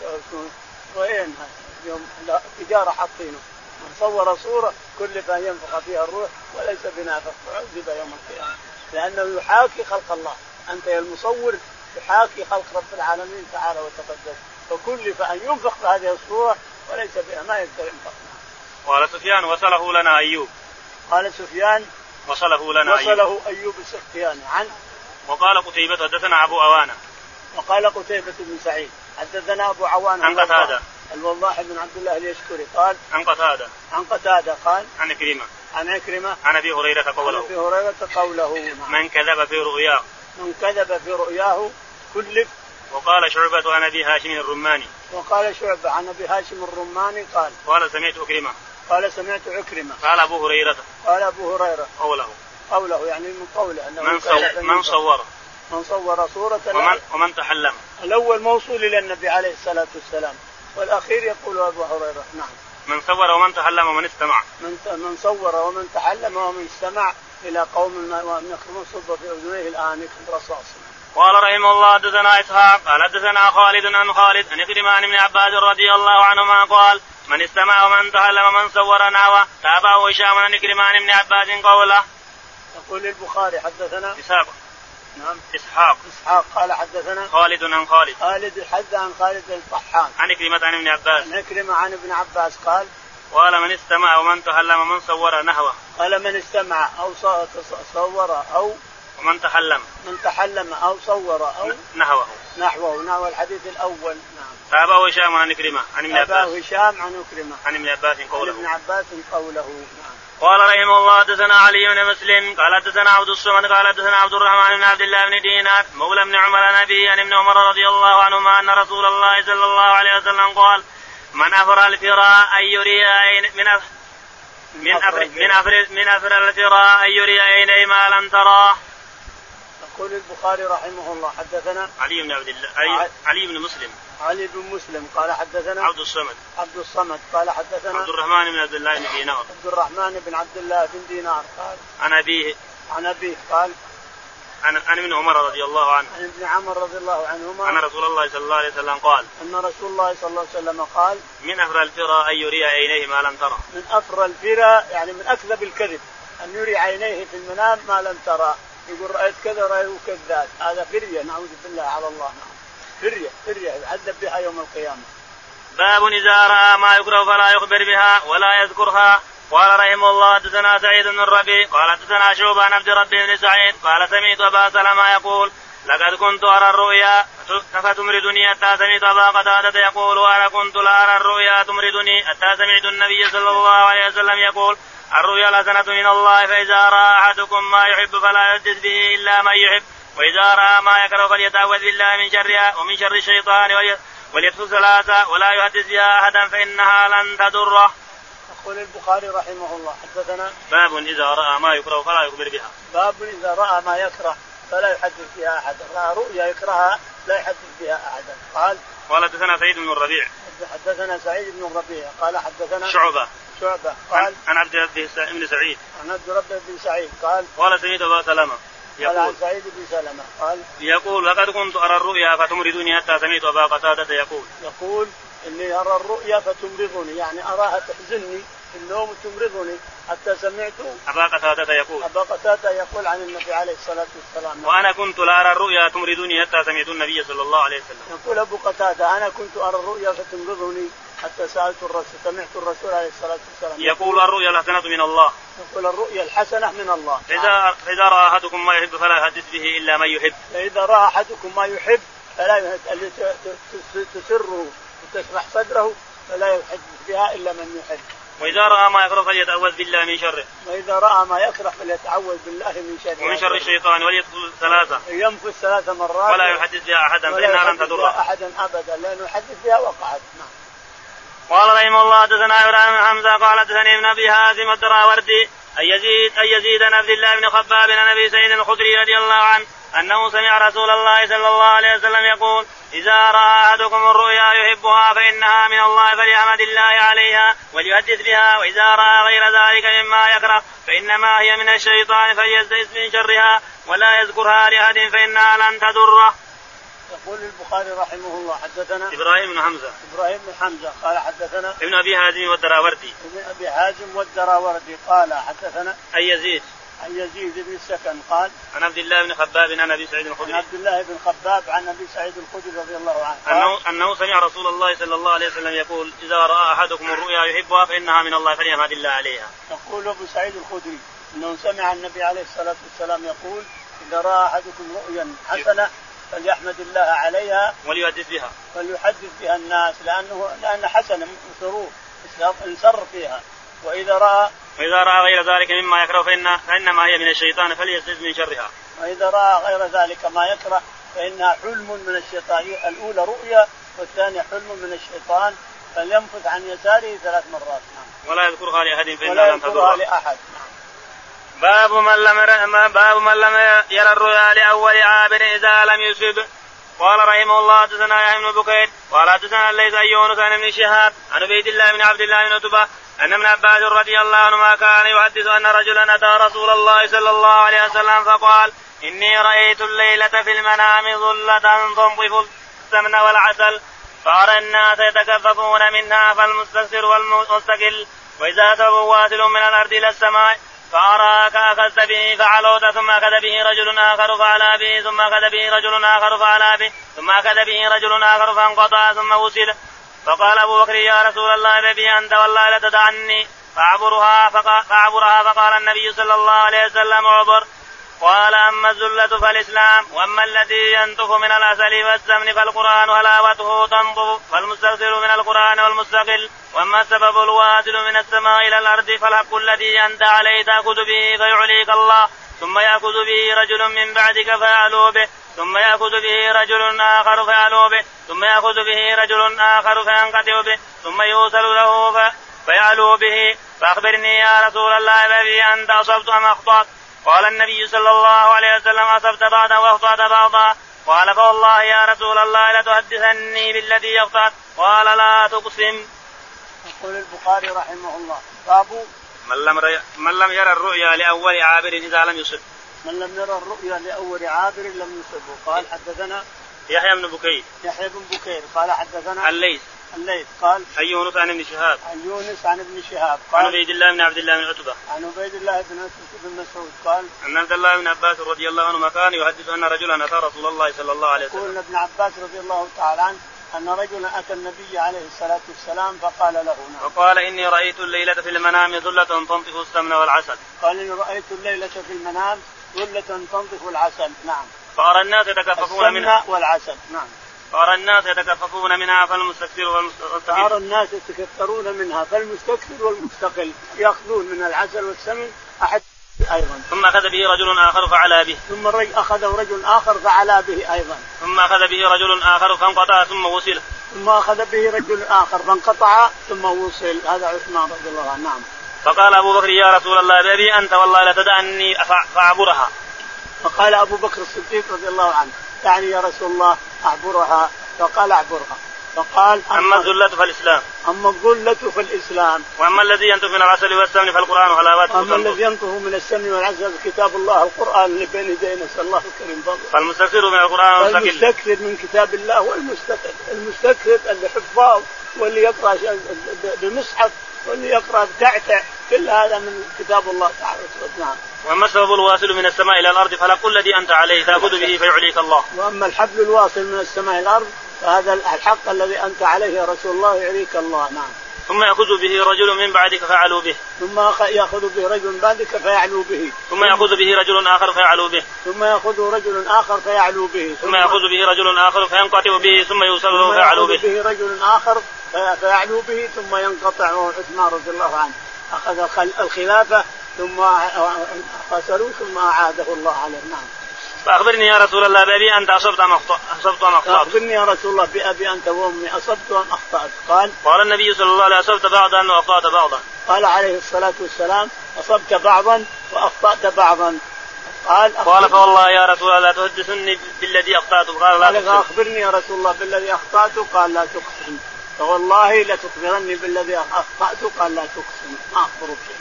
Speaker 2: يصورون- وين هذا؟ اليوم لا، تجارة حاطينه من صور صورة كلف أن ينفخ فيها الروح وليس بنافع عذب يوم القيامة لأنه يحاكي خلق الله أنت يا المصور تحاكي خلق رب العالمين تعالى وتقدس فكلف أن ينفخ في هذه الصورة وليس بها ما يقدر ينفخ
Speaker 1: قال سفيان وصله لنا أيوب
Speaker 2: قال سفيان
Speaker 1: وصله لنا أيوب
Speaker 2: وصله أيوب السختياني عن
Speaker 1: وقال قتيبة حدثنا أبو أوانة
Speaker 2: وقال قتيبة بن سعيد حدثنا أبو عوان
Speaker 1: عن
Speaker 2: الوضاح-
Speaker 1: قتادة.
Speaker 2: الوضاح بن عبد الله اليشكري قال
Speaker 1: عن قتادة
Speaker 2: عن قتادة قال
Speaker 1: عن كريمة
Speaker 2: عن عكرمة
Speaker 1: عن أبي هريرة
Speaker 2: عن أبي
Speaker 1: قوله
Speaker 2: هريرة قوله نعم.
Speaker 1: من كذب في رؤياه
Speaker 2: من كذب في رؤياه كلف
Speaker 1: وقال شعبة عن أبي هاشم الرماني
Speaker 2: وقال شعبة عن أبي هاشم الرماني قال
Speaker 1: قال سمعت أكرمة
Speaker 2: قال سمعت عكرمة
Speaker 1: قال أبو هريرة
Speaker 2: قال أبو هريرة
Speaker 1: قوله
Speaker 2: قوله يعني من قوله أنه
Speaker 1: من
Speaker 2: كذب
Speaker 1: صور من صور
Speaker 2: من صور صورة
Speaker 1: ومن ومن تحلم
Speaker 2: الأول موصول إلى النبي عليه الصلاة والسلام والأخير يقول أبو هريرة نعم
Speaker 1: من صور ومن تحلم ومن استمع
Speaker 2: من من صور ومن تحلم ومن استمع الى قوم يخرجون صب في اذنيه الانك الرصاص.
Speaker 1: قال رحمه الله حدثنا اسحاق قال حدثنا خالد عن خالد عن عكرمة عن ابن عباس رضي الله عنهما قال من استمع ومن تهلم ومن صور نحوه تابعه هشام عن عكرمة عن ابن عباس قوله
Speaker 2: يقول البخاري حدثنا
Speaker 1: اسحاق
Speaker 2: نعم
Speaker 1: اسحاق
Speaker 2: اسحاق قال حدثنا
Speaker 1: خالد عن خالد
Speaker 2: خالد الحذا عن خالد الطحان
Speaker 1: عن عكرمة عن ابن عباس
Speaker 2: عن عكرمه عن ابن عباس قال
Speaker 1: قال من استمع ومن تحلم من صور نحوه
Speaker 2: قال من استمع او ص- تص- صور او
Speaker 1: ومن تحلم
Speaker 2: من تحلم او صور او
Speaker 1: نحوه
Speaker 2: نحوه نحو الحديث الاول نعم
Speaker 1: فاباه هشام عن كلمه عن ابن
Speaker 2: أباه
Speaker 1: عباس
Speaker 2: هشام عن أكرمة
Speaker 1: عن ابن عباس
Speaker 2: عن ابن
Speaker 1: قوله
Speaker 2: عباس قوله نعم
Speaker 1: قال رحمه الله حدثنا علي بن مسلم قال حدثنا عبد الصمد قال حدثنا عبد الرحمن بن عبد الله بن دينار مولى بن عمر عن ابي عن ابن عمر رضي الله عنهما ان رسول الله صلى الله عليه وسلم قال من افرى الفراء ان يري عين- من أف- من افر من افر من افر الفراء ان يري عيني ما لم تراه
Speaker 2: يقول البخاري رحمه الله حدثنا
Speaker 1: علي بن عبد الله علي,
Speaker 2: ع-
Speaker 1: علي بن مسلم
Speaker 2: علي بن مسلم قال حدثنا
Speaker 1: عبد الصمد
Speaker 2: عبد الصمد قال حدثنا
Speaker 1: عبد الرحمن بن عبد الله بن دينار
Speaker 2: عبد الرحمن بن عبد الله بن دينار قال
Speaker 1: عن ابيه
Speaker 2: عن أبيه قال
Speaker 1: عن عن ابن عمر رضي الله عنه
Speaker 2: عن ابن عمر رضي الله
Speaker 1: أن
Speaker 2: عنهما
Speaker 1: رسول الله صلى الله عليه وسلم قال
Speaker 2: أن رسول الله صلى الله عليه وسلم قال
Speaker 1: من أفرى الفرى أن يري عينيه ما لم ترى
Speaker 2: من أفرى الفرى يعني من أكذب الكذب أن يري عينيه في المنام ما لم ترى يقول رأيت كذا رأيه كذاب هذا فرية نعوذ بالله على الله نعم فرية فرية يعذب بها يوم القيامة
Speaker 1: باب إذا رأى ما يكره فلا يخبر بها ولا يذكرها قال رحمه الله حدثنا سعيد بن الربيع قال حدثنا شوبة عن عبد ربي بن سعيد قال سمعت أبا سلمة يقول لقد كنت أرى الرؤيا فتمردني حتى سمعت أبا قتادة يقول وأنا كنت لا أرى الرؤيا تمردني حتى سمعت النبي صلى الله عليه وسلم يقول الرؤيا لسنة من الله فإذا رأى أحدكم ما يحب فلا يحدث به إلا من يحب وإذا رأى ما يكره فليتعوذ بالله من شرها ومن شر الشيطان ولي- وليكتب ثلاثة ولا يحدث بها أحدا فإنها لن تضره
Speaker 2: يقول البخاري رحمه الله حدثنا
Speaker 1: باب إذا رأى ما يكره فلا يخبر بها
Speaker 2: باب إذا رأى ما يكره فلا يحدث بها أحدا رأى رؤيا يكرهها لا يحدث بها أحدا قال
Speaker 1: قال حدثنا سعيد بن الربيع
Speaker 2: حدثنا سعيد بن الربيع قال حدثنا
Speaker 1: شعبة
Speaker 2: شعبة قال
Speaker 1: عن عن عبد الله بن سعيد
Speaker 2: عن عبد ربه بن سعيد قال
Speaker 1: قال سمعت أبا سلمة
Speaker 2: قال عن
Speaker 1: يقول
Speaker 2: سعيد بن سلمة قال
Speaker 1: يقول لقد كنت أرى الرؤيا فتمردني حتى سمعت أبا قتادة يقول
Speaker 2: يقول اني ارى الرؤيا فتمرضني يعني اراها تحزني في النوم تمرضني حتى سمعت
Speaker 1: أبا قتادة يقول
Speaker 2: ابا قتاده يقول عن النبي عليه الصلاه والسلام
Speaker 1: وأنا كنت لا أرى الرؤيا تمردني حتى سمعت النبي صلى الله عليه وسلم
Speaker 2: يقول ابو قتاده انا كنت ارى الرؤيا فتمرضني حتى سالت الرسول سمعت الرسول عليه الصلاه والسلام
Speaker 1: يقول الرؤيا الحسنة من الله
Speaker 2: يقول الرؤيا الحسنه من الله
Speaker 1: فإذا فإذا رأى أحدكم ما يحب فلا يحدث به إلا من يحب
Speaker 2: فاذا راى احدكم ما يحب فلا يهت- اللي ت- ت- تسره وتشرح صدره فلا يحدث بها الا من يحب
Speaker 1: وإذا رأى ما يكره فليتعوذ بالله من شره
Speaker 2: واذا راى ما يكره فليتعوذ بالله من شر
Speaker 1: ومن شر الشيطان وليدخل ثلاثة
Speaker 2: ينفث ثلاث مرات
Speaker 1: ولا يحدث بها أحدا
Speaker 2: ولا
Speaker 1: فإنها لن
Speaker 2: يحدث بها
Speaker 1: تضره
Speaker 2: احدا ابدا لانه يحدث بها وقعت نعم
Speaker 1: قال رحمه الله حدثنا ابراهيم بن حمزه قال حدثني ابن ابي هازم الدراوردي ان يزيد ان يزيد بن عبد الله بن خباب بن ابي سعيد الخدري رضي الله عنه انه سمع رسول الله صلى الله عليه وسلم يقول اذا راى احدكم الرؤيا يحبها فانها من الله فليحمد الله عليها وليحدث بها واذا راى غير ذلك مما يكره فانما هي من الشيطان فليستئذ من شرها ولا يذكرها لاحد فانها لن تضره.
Speaker 2: يقول البخاري رحمه الله حدثنا
Speaker 1: ابراهيم بن حمزه
Speaker 2: ابراهيم بن حمزه قال حدثنا
Speaker 1: ابن ابي هازم والدراوردي
Speaker 2: ابن ابي حازم والدراوردي قال حدثنا
Speaker 1: ان يزيد
Speaker 2: عن يزيد بن السكن قال
Speaker 1: عن عبد الله بن خباب عن ابي سعيد
Speaker 2: عن
Speaker 1: الخدري
Speaker 2: عبد الله بن خباب عن ابي سعيد الخدري رضي الله عنه قال
Speaker 1: أنه, أنه سمع رسول الله صلى الله عليه وسلم يقول إذا رأى أحدكم الرؤيا يحبها فإنها من الله فليحمد الله عليها
Speaker 2: يقول ابو سعيد الخدري انه سمع النبي عليه الصلاه والسلام يقول اذا راى احدكم رؤيا حسنه فليحمد الله عليها
Speaker 1: وليحدث بها
Speaker 2: فليحدث بها الناس لانه لان حسنه سرور انسر فيها واذا راى
Speaker 1: وإذا رأى غير ذلك مما يكره فإن فإنما هي من الشيطان فليستعذ من شرها
Speaker 2: واذا راى غير ذلك ما يكره فانها حلم من الشيطان الاولى رؤيا والثانيه حلم من الشيطان فلينفث عن يساره ثلاث مرات نعم
Speaker 1: ولا يذكرها لأحد
Speaker 2: ولا
Speaker 1: فإنها لن
Speaker 2: ينظرها
Speaker 1: تضره
Speaker 2: لاحد نعم
Speaker 1: باب من لم ير- ما- باب من لم يرى الرؤيا لأول عابر إذا لم يصب قال رحمه الله حدثنا يحيى بن بكير قال حدثنا الليث عن يونس عن ابن شهاب عن عبيد الله بن عبد الله بن عتبة أن ابن عباس رضي الله عنهما كان يحدث أن رجلا أتى رسول الله صلى الله عليه وسلم فقال إني رأيت الليلة في المنام ظلة تنظف السمن والعسل فأرى الناس يتكففون منها فالمستكثر والمستقل وإذا ثوب واسل من الأرض إلى السماء فأراك أخذت به فعلوت ثم أخذ به رجل آخر فعلى به ثم أخذ به رجل آخر فعلى به ثم أخذ به رجل آخر فانقطع ثم وسد فقال أبو بكر يا رسول الله ببي أنت والله لا تدعني فأعبرها فقال, فأعبرها فقال النبي صلى الله عليه وسلم عبر قال أما الزلة فالإسلام وأما الذي ينطف من العسل والسمن فالقرآن هلاوته تنطف فالمسترسل من القرآن والمستقل وأما السبب الواصل من السماء إلى الأرض فالحق الذي أنت عليه تأخذ به فيعليك الله ثم يأخذ به رجل من بعدك فيعلو به ثم يأخذ به رجل آخر فيعلو به ثم يأخذ به رجل آخر فينقطع به ثم يوصل له ف... فيعلو به فأخبرني يا رسول الله بأبي أنت أصبت أم أخطأت قال النبي صلى الله عليه وسلم أصبت بعضا وأخطأت بعضا قال فوالله يا رسول الله لتحدثني بالذي أخطأت قال لا تقسم
Speaker 2: يقول البخاري رحمه الله باب
Speaker 1: من لم, ري... من لم يرى الرؤيا لأول عابر إذا لم يصب
Speaker 2: من لم يرى الرؤيا لأول عابر لم يصبه قال حدثنا
Speaker 1: يحيى بن بكير
Speaker 2: يحيى بن بكير قال حدثنا
Speaker 1: الليث
Speaker 2: الليث قال
Speaker 1: عن يونس عن ابن شهاب
Speaker 2: عن يونس عن ابن
Speaker 1: عن
Speaker 2: شهاب قال
Speaker 1: عبيد الله بن عبد الله بن عتبة
Speaker 2: عن عبيد الله بن عتبة بن مسعود قال
Speaker 1: أن عبد الله بن عباس رضي الله عنهما كان يحدث أن رجلا أتى رسول الله صلى الله عليه وسلم
Speaker 2: يقول ابن عباس رضي الله تعالى عنه أن رجلا أتى النبي عليه الصلاة والسلام فقال له نعم
Speaker 1: وقال إني رأيت الليلة في المنام ظلة تنطف السمن والعسل
Speaker 2: قال إني رأيت الليلة في المنام ظلة تنطف العسل نعم
Speaker 1: فأرى الناس يتكففون منها
Speaker 2: السمن والعسل نعم
Speaker 1: فأرى الناس يتكففون منها فالمستكبر
Speaker 2: صار
Speaker 1: والمستقيم
Speaker 2: الناس يتكثرون منها فالمستكثر والمستقل ياخذون من العسل والسمن احد ايضا
Speaker 1: ثم أخذ به رجل آخر فعلى به
Speaker 2: ثم الرجل اخذه رجل اخر فعلا به ايضا
Speaker 1: ثم أخذ به رجل آخر فانقطع ثم وصل
Speaker 2: ثم اخذ به رجل اخر فانقطع ثم وصل هذا عثمان رضي الله عنه نعم
Speaker 1: فقال أبو بكر يا رسول الله بأبي أنت والله لا تدعني فأ- فأعبرها
Speaker 2: فقال ابو بكر الصديق رضي الله عنه دعني يا رسول الله اعبرها فقال اعبرها فقال
Speaker 1: أما الزلة فالإسلام
Speaker 2: اما الظله فالاسلام
Speaker 1: وأما الذي ينتف من العسل والسمن فالقرآن وحلاوته
Speaker 2: واما
Speaker 1: تنطق.
Speaker 2: الذي ينطه من السمن والعسل كتاب الله القران اللي بين يدينا نسال الله الكريم فضله
Speaker 1: فالمستكثر من القرآن
Speaker 2: طيب،
Speaker 1: والمستقل
Speaker 2: المستكثر من كتاب الله والمستكثر المستكثر اللي حفاظ واللي يقرا ش- بمصحف واللي يقرا بتعتع كل هذا من كتاب الله تعالى وتعالى. نعم
Speaker 1: وأما السبب الواصل من السماء إلى الأرض فالحق الذي أنت عليه تأخذ به فيعليك الله
Speaker 2: واما الحبل الواصل من السماء الارض فهذا الحق الذي انت عليه يا رسول الله يعيك الله نعم
Speaker 1: ثم يأخذ به رجل من بعدك فعلوا به
Speaker 2: ثم أخ- ياخذ به رجل من بعدك فيعلو به
Speaker 1: ثم يأخذ به رجل آخر فيعلو به
Speaker 2: ثم ياخذه رجل اخر فيعلو به
Speaker 1: ثم يأخذ به رجل آخر فينقطع به ثم يوصل له
Speaker 2: ثم
Speaker 1: فيعلو
Speaker 2: ياخذ
Speaker 1: به
Speaker 2: به رجل اخر في- فيعلو به ثم ينقطع وهو عثمان رضي الله عنه اخذ الخل- الخلافه ثم خسروا ثم اعاده الله عليه نعم
Speaker 1: فأخبرني يا رسول الله بأبي أنت أصبت أم أخطأ- أصبت أم أخطأت
Speaker 2: اخبرني يا رسول الله بابي انت وامي اصبت ام اخطات قال
Speaker 1: قال النبي صلى الله عليه وسلم أصبت بعضا وأخطأت بعضا
Speaker 2: قال عليه الصلاه والسلام اصبت بعضا واخطات بعضا قال
Speaker 1: قال فوالله يا رسول الله لا تحدثني بالذي أخطأته قال لا
Speaker 2: قال
Speaker 1: تحدثني
Speaker 2: اخبرني يا رسول الله بالذي اخطات قال لا تقسم فوالله لتخبرني بالذي اخطات قال لا تقسم ما اخبرك شيء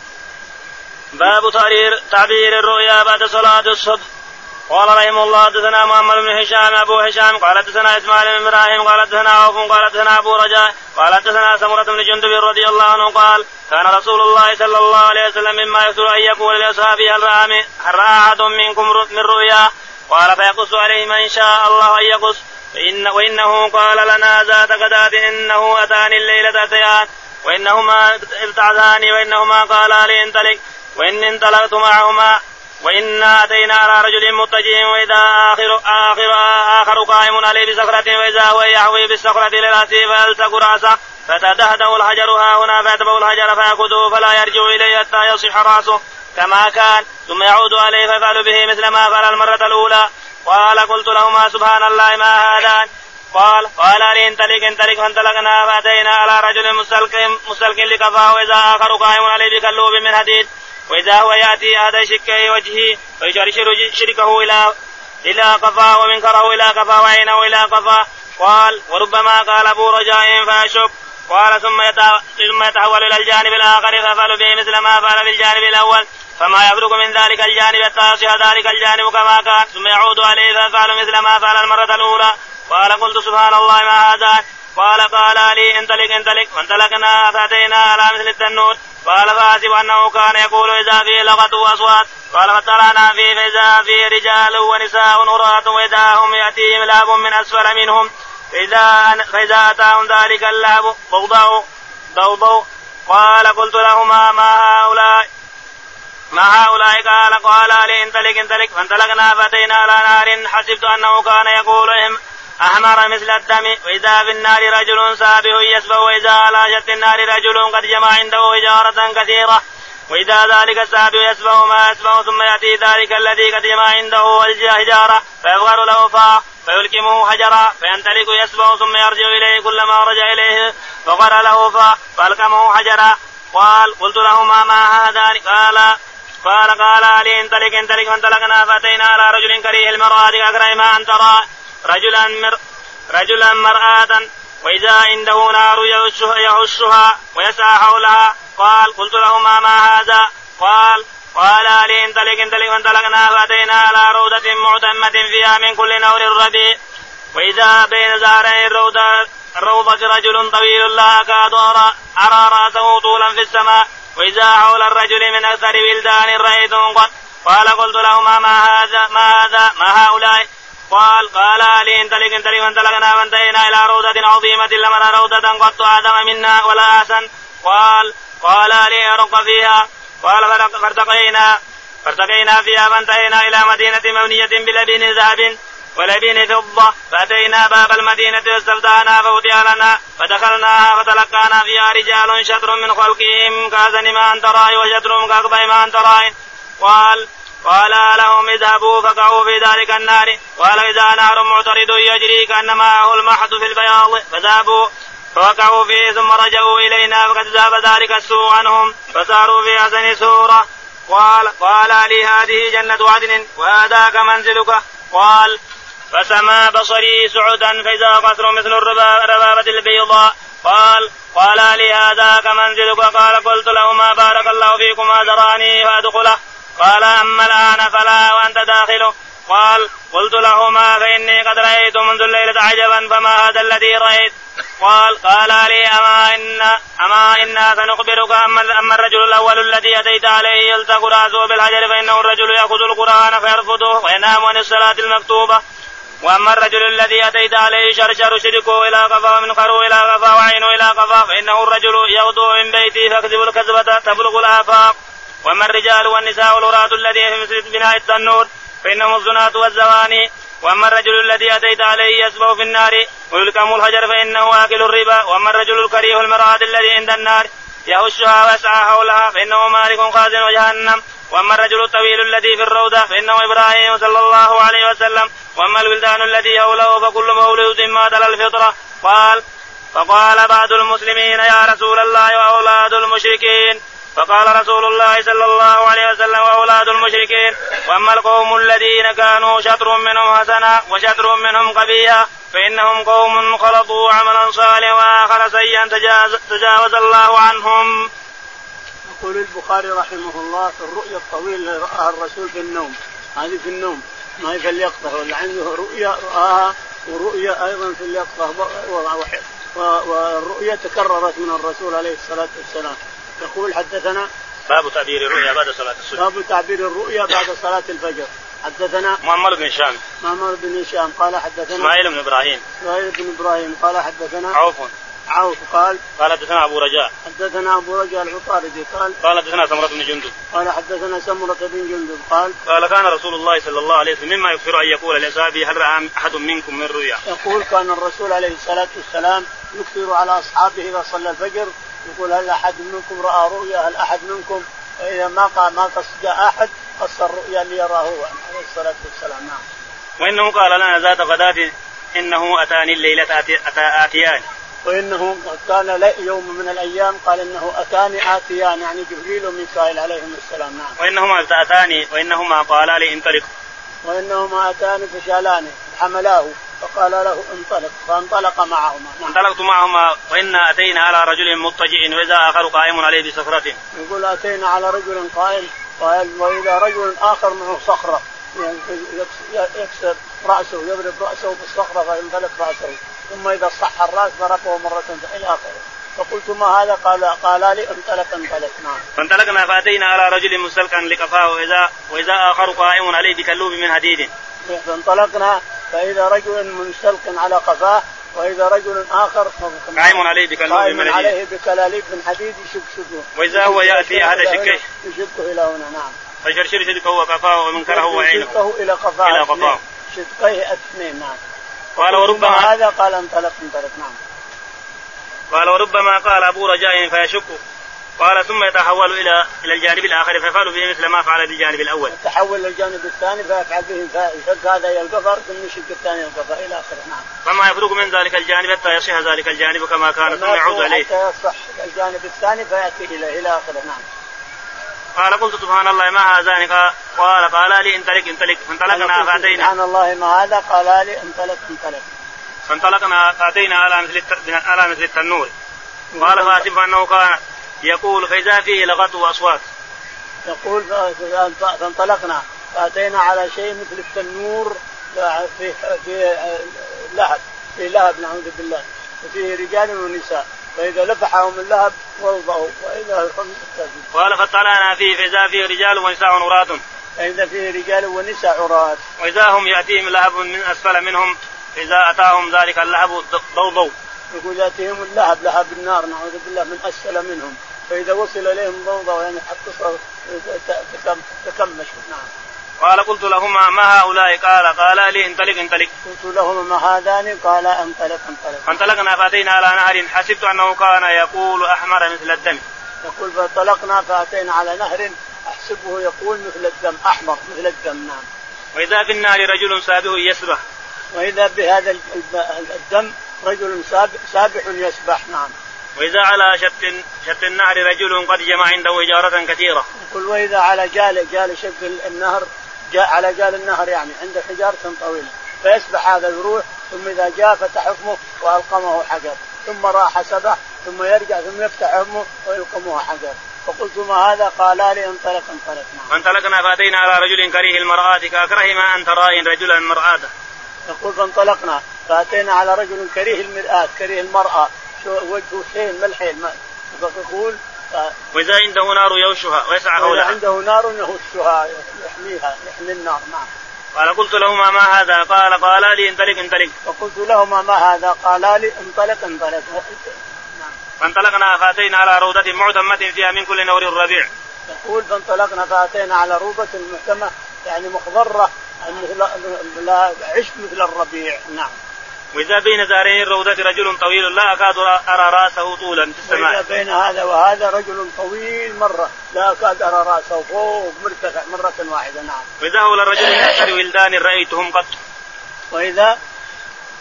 Speaker 1: باب تعبير تعبير الرؤيا بعد صلاة الصبح قال رحمه الله حدثنا محمد بن هشام ابو هشام قال حدثنا اسماعيل بن ابراهيم قال حدثنا عوف قال حدثنا ابو رجاء قال حدثنا سمرة بن جندب رضي الله عنه قال كان رسول الله صلى الله عليه وسلم مما يكثر ان يقول لاصحابه هل راى من- هل راى احد منكم رؤ- من رؤيا قال فيقص عليه من شاء الله ان يقص فإن وانه قال لنا ذات غداة انه اتاني الليله اتيان وانهما ابتعداني وانهما قالا لي انطلق وان انطلقت معهما وإنا أتينا على رجل متجه وإذا آخر آخر آخر قائم عليه بصخرة وإذا هو يحوي بالصخرة لرأسه فيلتق رأسه فتدهده الحجر ها هنا فيتبع الحجر فيأخذه فلا يرجع إليه حتى يصح رأسه كما كان ثم يعود عليه فيفعل به مثل ما فعل المرة الأولى قال قلت لهما سبحان الله ما هذان قال قال لي انطلق انطلق فانطلقنا فأتينا على رجل مستلقم مستلقم لكفاه وإذا آخر قائم عليه بكلوب من حديد وإذا هو يأتي أحد شكه وجهه فيشرشر شركه إلى إلى قفاه ومنكره إلى قفاه وعينه إلى قفاه قال وربما قال أبو رجاء فأشك قال ثم يتع- ثم يتحول إلى الجانب الآخر فيفعل به مثل ما فعل بالجانب الأول فما يفرق من ذلك الجانب حتى يصيح ذلك الجانب كما كان ثم يعود عليه فيفعل مثل ما فعل المرة الأولى قال قلت سبحان الله ما هذان قال قال لي انطلق انطلق فانطلقنا فاتينا على مثل التنور قال فحسب انه كان يقول اذا فيه لغه واصوات قال فطلعنا فيه فاذا فيه رجال ونساء عراة واذا هم ياتيهم لاب من اسفل منهم فإذا, فإذا أتاهم ذلك اللعب ضوضاء ضوضاء قال قلت لهما ما هؤلاء ما هؤلاء قال قال لي انطلق انطلق فانطلقنا فأتينا على نار حسبت أنه كان يقول إم- أحمر مثل الدم وإذا في النار رجل سابه يسبه وإذا على شط النار رجل قد جمع عنده إجارة كثيرة وإذا ذلك السابع يسبه ما يسبه ثم يأتي ذلك الذي قد جمع عنده الحجارة فيفغر له فاه فيلكمه حجرا فينتلك يسبه ثم يرجع إليه كلما رجع إليه فغر له فاه فألكمه حجرا قال قلت لهما ما هذان قال قال قال علي انطلق انطلق فانطلقنا فأتينا على رجل كريه المرأة أكره ما أن ترى رجلا مر رجلا مرآة وإذا عنده نار يهشها, يهشها ويسعى حولها قال قلت لهما ما هذا قال قال لي انطلق انطلق فانطلقنا فأتينا على روضة معتمة فيها من كل نور الربيع وإذا بين زهرين الروضة الروضة رجل طويل لا أكاد أرى, أرى رأسه طولا في السماء وإذا حول الرجل من أكثر بلدان رأيت قط قال قلت لهما ما هذا ما هذا ما هؤلاء قال قال لي انطلق انطلق فانطلقنا فانتهينا الى روضة عظيمة لمن روضة قط اعظم منا ولا احسن قال قال لي ارق فيها قال فرق- فارتقينا فارتقينا فيها فانتهينا الى مدينة مبنية بلبن ذهب ولبن فضة فأتينا باب المدينة فاستفتحنا ففتح لنا فدخلناها فتلقانا فيها رجال شطر من خلقهم كأذن ما أنت راي وشطرهم كأقبى ما أنت راي قال قال لهم اذهبوا فقعوا في ذلك النار قال إذا نهر معترض يجري كأن معه المحض في البياض فذهبوا فوقعوا فيه ثم رجعوا إلينا فقد ذهب ذلك السوء عنهم فساروا في أحسن سورة قال قال لي هذه جنة عدن وهذاك منزلك قال فسما بصري سعدا فإذا قصر مثل الربا- الربابة البيضاء قال قال لي هذاك منزلك قال قلت لهما بارك الله فيكما دراني فأدخله قال أما الآن فلا وأنت داخله قال قلت لهما فإني قد رأيت منذ الليلة عجبا فما هذا الذي رأيت قال قال لي أما إن أما إنا سنخبرك أما, أما الرجل الأول الذي أتيت عليه يلتق رأسه بالحجر فإنه الرجل يأخذ القرآن فيرفضه وينام عن الصلاة المكتوبة وأما الرجل الذي أتيت عليه شرشر شركه إلى قفا من قرو إلى قفا وعينه إلى قفا فإنه الرجل يغدو من بيته فيكذب الكذبة تبلغ الآفاق وأما الرجال والنساء والوراة الذي في مثل بناء التنور فإنهم الزناة والزواني وأما الرجل الذي أتيت عليه يسبح في النار ويلكم الحجر فإنه آكل الربا وأما الرجل الكريه المرأة الذي عند النار يهشها ويسعى حولها فإنه مالك خازن جهنم وأما الرجل الطويل الذي في الروضة فإنه إبراهيم صلى الله عليه وسلم وأما الولدان الذي حوله فكل مولود مات على الفطرة قال فقال بعض المسلمين يا رسول الله وأولاد المشركين فقال رسول الله صلى الله عليه وسلم وأولاد المشركين وأما القوم الذين كانوا شطر منهم حسنا وشطر منهم قبيحا فإنهم قوم خلطوا عملا صالحا وآخر سيئا تجاز- تجاوز الله عنهم
Speaker 2: يقول البخاري رحمه الله في الرؤيا الطويلة اللي رآها الرسول في النوم هذه في النوم ما هي في اليقظة ولا عنده رؤيا رآها ورؤيا أيضا في اليقظة و- و- و- والرؤيا تكررت من الرسول عليه الصلاة والسلام يقول حدثنا
Speaker 1: باب تعبير الرؤيا بعد صلاة الصبح
Speaker 2: باب تعبير الرؤيا بعد صلاة الفجر حدثنا
Speaker 1: محمد بن هشام
Speaker 2: معمر بن هشام قال حدثنا
Speaker 1: اسماعيل بن ابراهيم
Speaker 2: اسماعيل بن ابراهيم قال حدثنا
Speaker 1: عوف
Speaker 2: عوف قال
Speaker 1: قال حدثنا ابو رجاء
Speaker 2: حدثنا ابو رجاء العطاردي قال
Speaker 1: قال حدثنا سمره بن جندب
Speaker 2: قال حدثنا سمرة بن جندب قال
Speaker 1: قال كان رسول الله صلى الله عليه وسلم مما يكثر ان يقول لاصحابه هل راى احد منكم من رؤيا؟
Speaker 2: يقول كان الرسول عليه الصلاة والسلام يكثر على أصحابه إذا صلى الفجر يقول هل أحد منكم رأى رؤيا هل أحد منكم فإذا ما قا- ما قص جاء أحد قص الرؤيا اللي يراها هو عليه الصلاة والسلام نعم
Speaker 1: وانه قال لنا ذات غداة انه اتاني الليله أتي أتا- اتيان
Speaker 2: وإنه كان لي- يوم من الأيام قال إنه أتاني آتيان يعني جبريل وميكائيل عليهم السلام نعم
Speaker 1: وانهما اتاني وانهما قالا لي انطلق
Speaker 2: وإنهما أتاني فشالانه حملاه فقال له انطلق فانطلق معهما نعم
Speaker 1: انطلقت معهما وانا اتينا على رجل مضطجع واذا اخر قائم عليه بصخره
Speaker 2: يقول أتينا على رجل قائم قال وإذا رجل آخر معه صخرة يعني يكس- يكسر رأسه يضرب رأسه بالصخرة فينفلت رأسه ثم إذا صح الرأس ضربه مرة ثانية إلى آخره فقلت ما هذا قال قال لي انطلق انطلق نعم
Speaker 1: فانطلقنا فاتينا على رجل مستلقا لقفاه واذا واذا اخر قائم عليه بكلوب من حديد
Speaker 2: فانطلقنا فإذا رجل منسلق على قفاه واذا رجل اخر
Speaker 1: قائم عليه بكلام
Speaker 2: قائم
Speaker 1: من الحديد.
Speaker 2: عليه بكلاليب من حديد يشبشبه
Speaker 1: واذا هو ياتي احد شقيه
Speaker 2: يشبكه الى هنا نعم
Speaker 1: فشرشر صدقه وكفاه ومنكره وعينه
Speaker 2: شدقه الى قفاه
Speaker 1: إلى
Speaker 2: اثنين.
Speaker 1: قفاه.
Speaker 2: شدقيه اثنين نعم
Speaker 1: قال
Speaker 2: ثم
Speaker 1: وربما
Speaker 2: هذا قال انطلق انطلق نعم
Speaker 1: قال وربما قال ابو رجاء فيشك قال ثم يتحول الى الى الجانب الاخر فيفعل به مثل ما فعل بالجانب الاول
Speaker 2: تحول للجانب الثاني فيفعل به فا- يشق هذا الى القفر ثم يشق الثاني الى القفر الى اخره نعم
Speaker 1: فما يفرق من ذلك الجانب حتى يصح ذلك الجانب كما كان ثم
Speaker 2: فما
Speaker 1: يعود
Speaker 2: هو
Speaker 1: اليه
Speaker 2: حتى يصح الجانب الثاني فياتي اليه الى اخره نعم
Speaker 1: قال قلت سبحان الله ما هذان قال- قال قال لي انطلق انطلق فانطلقنا
Speaker 2: قال قلت نعم.
Speaker 1: فاتينا
Speaker 2: سبحان الله ما هذا قال لي انطلق انطلق
Speaker 1: فانطلقنا فاتينا على مثل الت- على مثل التنور
Speaker 2: نعم.
Speaker 1: قال فاسب انه كان يقول فاذا فيه لغط واصوات
Speaker 2: يقول ف- فانطلقنا فاتينا على شيء مثل التنور في في آه، لهب في لهب نعوذ بالله وفيه رجال ونساء فاذا لفحهم اللهب ووضعوا واذا هم ساجدون.
Speaker 1: قال فاطلعنا فيه فاذا فيه رجال ونساء عراة
Speaker 2: فاذا فيه رجال ونساء عراة
Speaker 1: واذا هم ياتيهم لهب من اسفل منهم اذا اتاهم ذلك اللهب ضوضوا
Speaker 2: يقول ياتيهم اللهب لهب النار نعوذ بالله من اسفل منهم فاذا وصل اليهم ضوضاء يعني حتى صار- ت- تكم- تكمشوا نعم
Speaker 1: قال قلت لهما ما هؤلاء قال قال لي انطلق انطلق
Speaker 2: قلت لهما ما هذان قال انطلق انطلق
Speaker 1: فانطلقنا فاتينا على نهر حسبت انه كان يقول احمر مثل الدم
Speaker 2: يقول فانطلقنا فاتينا على نهر احسبه يقول مثل الدم احمر مثل الدم نعم
Speaker 1: واذا في النار رجل سابه يسبح
Speaker 2: واذا بهذا ال- ال- الدم رجل ساب- سابح يسبح نعم
Speaker 1: واذا على شط شط النهر رجل قد جمع عنده حجاره كثيره
Speaker 2: يقول واذا على جال جال شق النهر جاء على جال النهر يعني عند حجاره طويله فيسبح هذا يروح ثم اذا جاء فتح فمه والقمه حجر ثم راح سبح ثم يرجع ثم يفتح فمه ويلقمه حجر فقلت ما هذا قالا لي انطلق انطلق نعم
Speaker 1: فانطلقنا فاتينا على رجل كريه المراه كاكره ما ان ترى رجلا مراه
Speaker 2: يقول فانطلقنا فاتينا على رجل كريه المرآة كريه المرأة شو وجهه شين ملحين ما- يقول ف-
Speaker 1: واذا عنده نار يوشها ويسعى
Speaker 2: وإذا
Speaker 1: حولها
Speaker 2: عنده نار يهشها يحميها يحمي النار نعم
Speaker 1: قال قلت لهما ما هذا قال قال لي انطلق انطلق
Speaker 2: فقلت لهما ما هذا قالا لي انطلق انطلق نعم
Speaker 1: فانطلقنا فاتينا على روضة معتمة فيها من كل نور الربيع
Speaker 2: يقول فانطلقنا فاتينا على روضة مهتمة يعني مخضرة مثل لا عشب مثل الربيع نعم
Speaker 1: وإذا بين زارين الروضة رجل طويل لا أكاد أرى رأسه طولا في
Speaker 2: وإذا
Speaker 1: السماء
Speaker 2: بين هذا وهذا رجل طويل مرة لا أكاد أرى رأسه فوق مرتفع مرة واحدة نعم
Speaker 1: وإذا هو الرجل من أكثر ولدان رأيتهم قط
Speaker 2: وإذا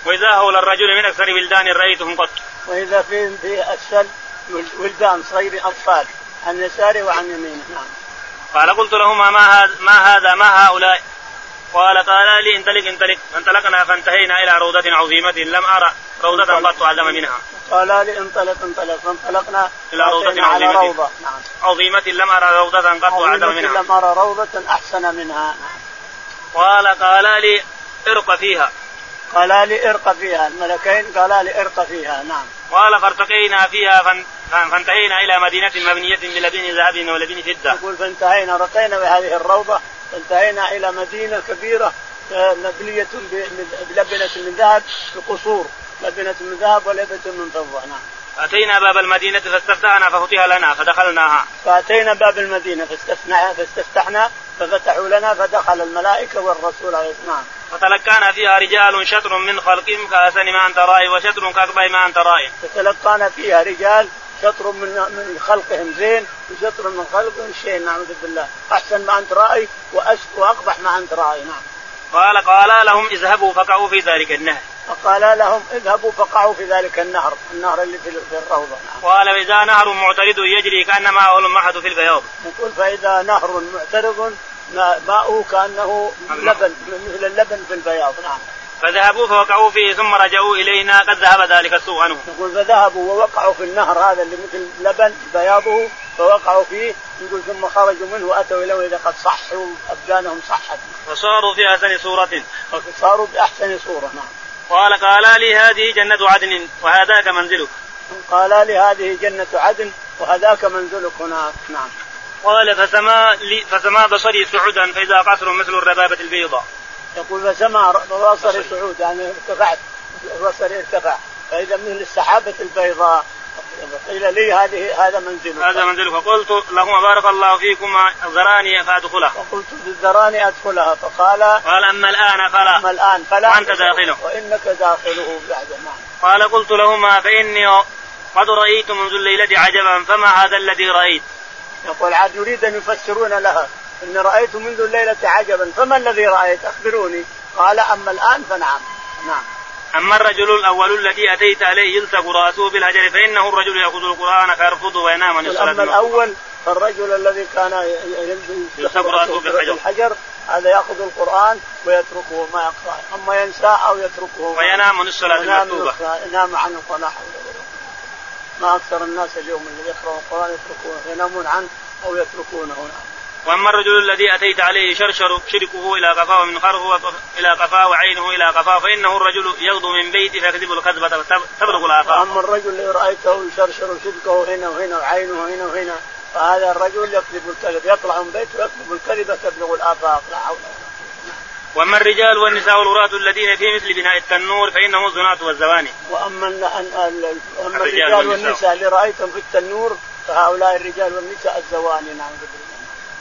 Speaker 1: وإذا هو الرجل من أكثر ولدان رأيتهم قط
Speaker 2: واذا في في السل ولدان صغير اطفال عن يساره وعن يمينه نعم
Speaker 1: قال قلت لهما ما هذا ما هذا ما هؤلاء قال قال لي انطلق انطلق فانطلقنا فانتهينا إلى روضة عظيمة لم أرى روضة قط أعلم منها
Speaker 2: قال لي انطلق انطلق فانطلقنا
Speaker 1: إلى روضة
Speaker 2: فأتينا على
Speaker 1: عظيمة.
Speaker 2: روضة نعم
Speaker 1: عظيمة لم أرى روضة قط
Speaker 2: عظيمة
Speaker 1: أعلم منها
Speaker 2: لم ارى روضة احسن منها نعم.
Speaker 1: قال قال لي ارق فيها
Speaker 2: قال لي ارق فيها الملكين قال لي ارق فيها نعم
Speaker 1: قال فارتقينا فيها فان- فان- فانتهينا الى مدينه مبنيه بلبن ذهب ولبن فضه
Speaker 2: يقول فانتهينا رقينا بهذه الروضة فانتهينا إلى مدينة كبيرة آه، مبنية ب- بلبنة من ذهب بقصور لبنة من ذهب ولبنة من فضة نعم
Speaker 1: اتينا باب المدينه فاستفتحنا ففتح لنا فدخلناها
Speaker 2: فاتينا باب المدينه فاستفتحنا فاستفتحنا ففتحوا لنا فدخل الملائكه والرسول عليه السلام
Speaker 1: فتلقانا فيها رجال شطر من خلقهم كاسن ما انت رائي وشطر كاكبه ما انت رائي
Speaker 2: فتلقانا فيها رجال شطر من من خلقهم زين وشطر من خلقهم شين نعوذ بالله احسن ما انت راي وأس- واقبح ما انت راي نعم
Speaker 1: قال قال لهم اذهبوا فقعوا في ذلك النهر
Speaker 2: فقال لهم اذهبوا فقعوا في ذلك النهر النهر اللي في في الروضه نعم
Speaker 1: قال اذا نهر معترض يجري كانما هو المعهد في البياض
Speaker 2: يقول فاذا نهر معترض ما- ماؤه كانه لبن مثل اللبن في البياض نعم
Speaker 1: فذهبوا فوقعوا فيه ثم رجعوا الينا قد ذهب ذلك السوء عنهم
Speaker 2: يقول فذهبوا ووقعوا في النهر هذا اللي مثل لبن بياضه فوقعوا فيه يقول ثم خرجوا منه واتوا اليه اذا قد صحوا ابدانهم صحت
Speaker 1: فصاروا في احسن صوره
Speaker 2: صاروا باحسن صوره نعم
Speaker 1: قال قال لي هذه جنه عدن وهذاك منزلك
Speaker 2: قال لي هذه جنة عدن وهذاك منزلك هناك نعم
Speaker 1: قال فسما لي فسما بصري سعدا فاذا قصر مثل الربابه البيضاء
Speaker 2: يقول فسمع رأس بصري صعود يعني ارتفعت البصر ارتفع فاذا من السحابه البيضاء قيل لي هذه هذا منزلك
Speaker 1: هذا منزلك فقلت لهما بارك الله فيكما ذراني فادخله
Speaker 2: وقلت بالذراني ادخلها فقال
Speaker 1: قال اما الان فلا
Speaker 2: اما الان فلا
Speaker 1: وأنت داخله.
Speaker 2: وانك داخله بعد نعم
Speaker 1: قال قلت لهما فاني قد رايت منذ الليله عجبا فما هذا الذي رايت
Speaker 2: يقول عاد يريد ان يفسرون لها اني رايت منذ الليله عجبا فما الذي رايت اخبروني قال اما الان فنعم نعم
Speaker 1: اما الرجل الاول الذي اتيت عليه يلتف راسه بالحجر فانه الرجل ياخذ القران فيرفضه وينام عن الصلاه
Speaker 2: اما
Speaker 1: المكتوبة.
Speaker 2: الاول فالرجل الذي كان
Speaker 1: يلتف رأسه بالحجر.
Speaker 2: الحجر هذا ياخذ القران ويتركه وما يقراه اما ينساه او يتركه
Speaker 1: وينام عن الصلاه
Speaker 2: ينام
Speaker 1: المكتوبه
Speaker 2: ينام عنه ولا حول ولا قوة. ما اكثر الناس اليوم اللي يقرأوا القران يتركونه ينامون عنه او يتركونه نعم.
Speaker 1: واما الرجل الذي اتيت عليه شرشر شركه الى قفاه ومن خره الى قفاه وعينه الى قفاه فانه الرجل يغدو من بيته فيكذب الكذبه فتبلغ الافاق
Speaker 2: واما الرجل اللي رايته يشرشر شدكه هنا وهنا وعينه هنا وهنا فهذا الرجل يكذب الكذب يطلع من بيته ويكذب الكذبه تبلغ الافاق لا حول ولا قوة.
Speaker 1: واما الرجال والنساء والوراة الذين في مثل بناء التنور فانهم الزناة والزواني
Speaker 2: واما ال- ال- ال- أما
Speaker 1: الرجال
Speaker 2: الرجال
Speaker 1: والنساء.
Speaker 2: والنساء اللي رايتهم في التنور فهؤلاء الرجال والنساء الزواني نعم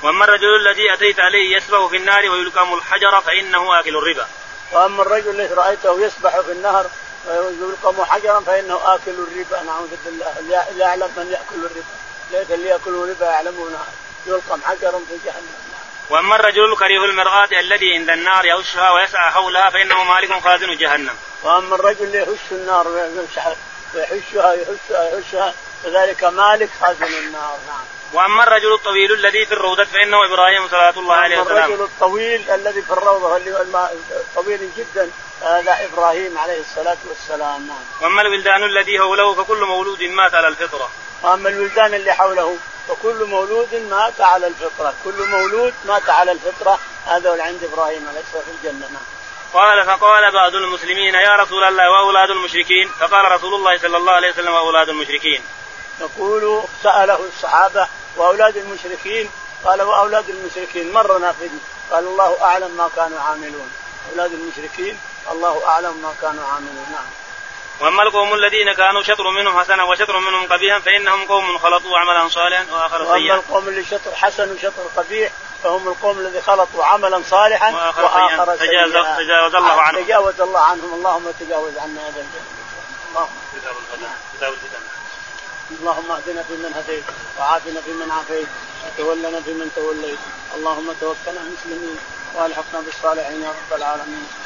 Speaker 1: واما الرجل الذي اتيت عليه يسبح في النار ويلقم الحجر فانه اكل الربا
Speaker 2: واما الرجل الذي رايته يسبح في النهر ويلقم حجرا فانه اكل الربا نعوذ بالله لا- لا يعلم من ياكل الربا ليس اللي ياكل الربا يعلمون يلقم حجرا في جهنم نعم.
Speaker 1: واما الرجل كريه المراه الذي عند النار يغشها ويسعى حولها فانه مالك خازن جهنم
Speaker 2: واما الرجل اللي يهش النار ويمسح- ويحشها يحشها يحشها فذلك مالك خازن النار نعم
Speaker 1: واما الرجل الطويل الذي في الروضه فانه ابراهيم صلوات الله عليه
Speaker 2: أما
Speaker 1: وسلم
Speaker 2: الرجل الطويل الذي في الروضه اللي هو الم- طويل جدا هذا ابراهيم عليه الصلاه والسلام نعم
Speaker 1: واما الولدان الذي حوله فكل مولود مات على الفطره
Speaker 2: واما الولدان اللي حوله فكل مولود مات على الفطره كل مولود مات على الفطره هذا اللي عند ابراهيم عليه الصلاه والسلام في الجنه نعم
Speaker 1: قال فقال بعض المسلمين يا رسول الله واولاد المشركين فقال رسول الله صلى الله عليه وسلم واولاد المشركين
Speaker 2: يقول سأله الصحابة وأولاد المشركين قال وأولاد المشركين مرنا في دي. قال الله أعلم ما كانوا عاملون أولاد المشركين الله أعلم ما كانوا عاملون نعم
Speaker 1: واما القوم الذين كانوا شطر منهم حسنا وشطر منهم قبيحا فانهم قوم خلطوا عملا صالحا واخر
Speaker 2: وأما
Speaker 1: سيئا
Speaker 2: القوم اللي شطر حسن وشطر قبيح فهم القوم الذي خلطوا عملا صالحا
Speaker 1: وآخر
Speaker 2: وآخر
Speaker 1: سيئاً. تجاوز-
Speaker 2: سيئاً.
Speaker 1: تجاوز الله عنهم.
Speaker 2: تجاوز الله عنهم اللهم تجاوز عنا هذا الجهل. اللهم
Speaker 1: كتاب الفتن كتاب الفتن
Speaker 2: اللهم اهدنا فيمن هديت وعافنا فيمن عافيت وتولنا فيمن توليت اللهم توفنا مسلمين والحقنا بالصالحين يا رب العالمين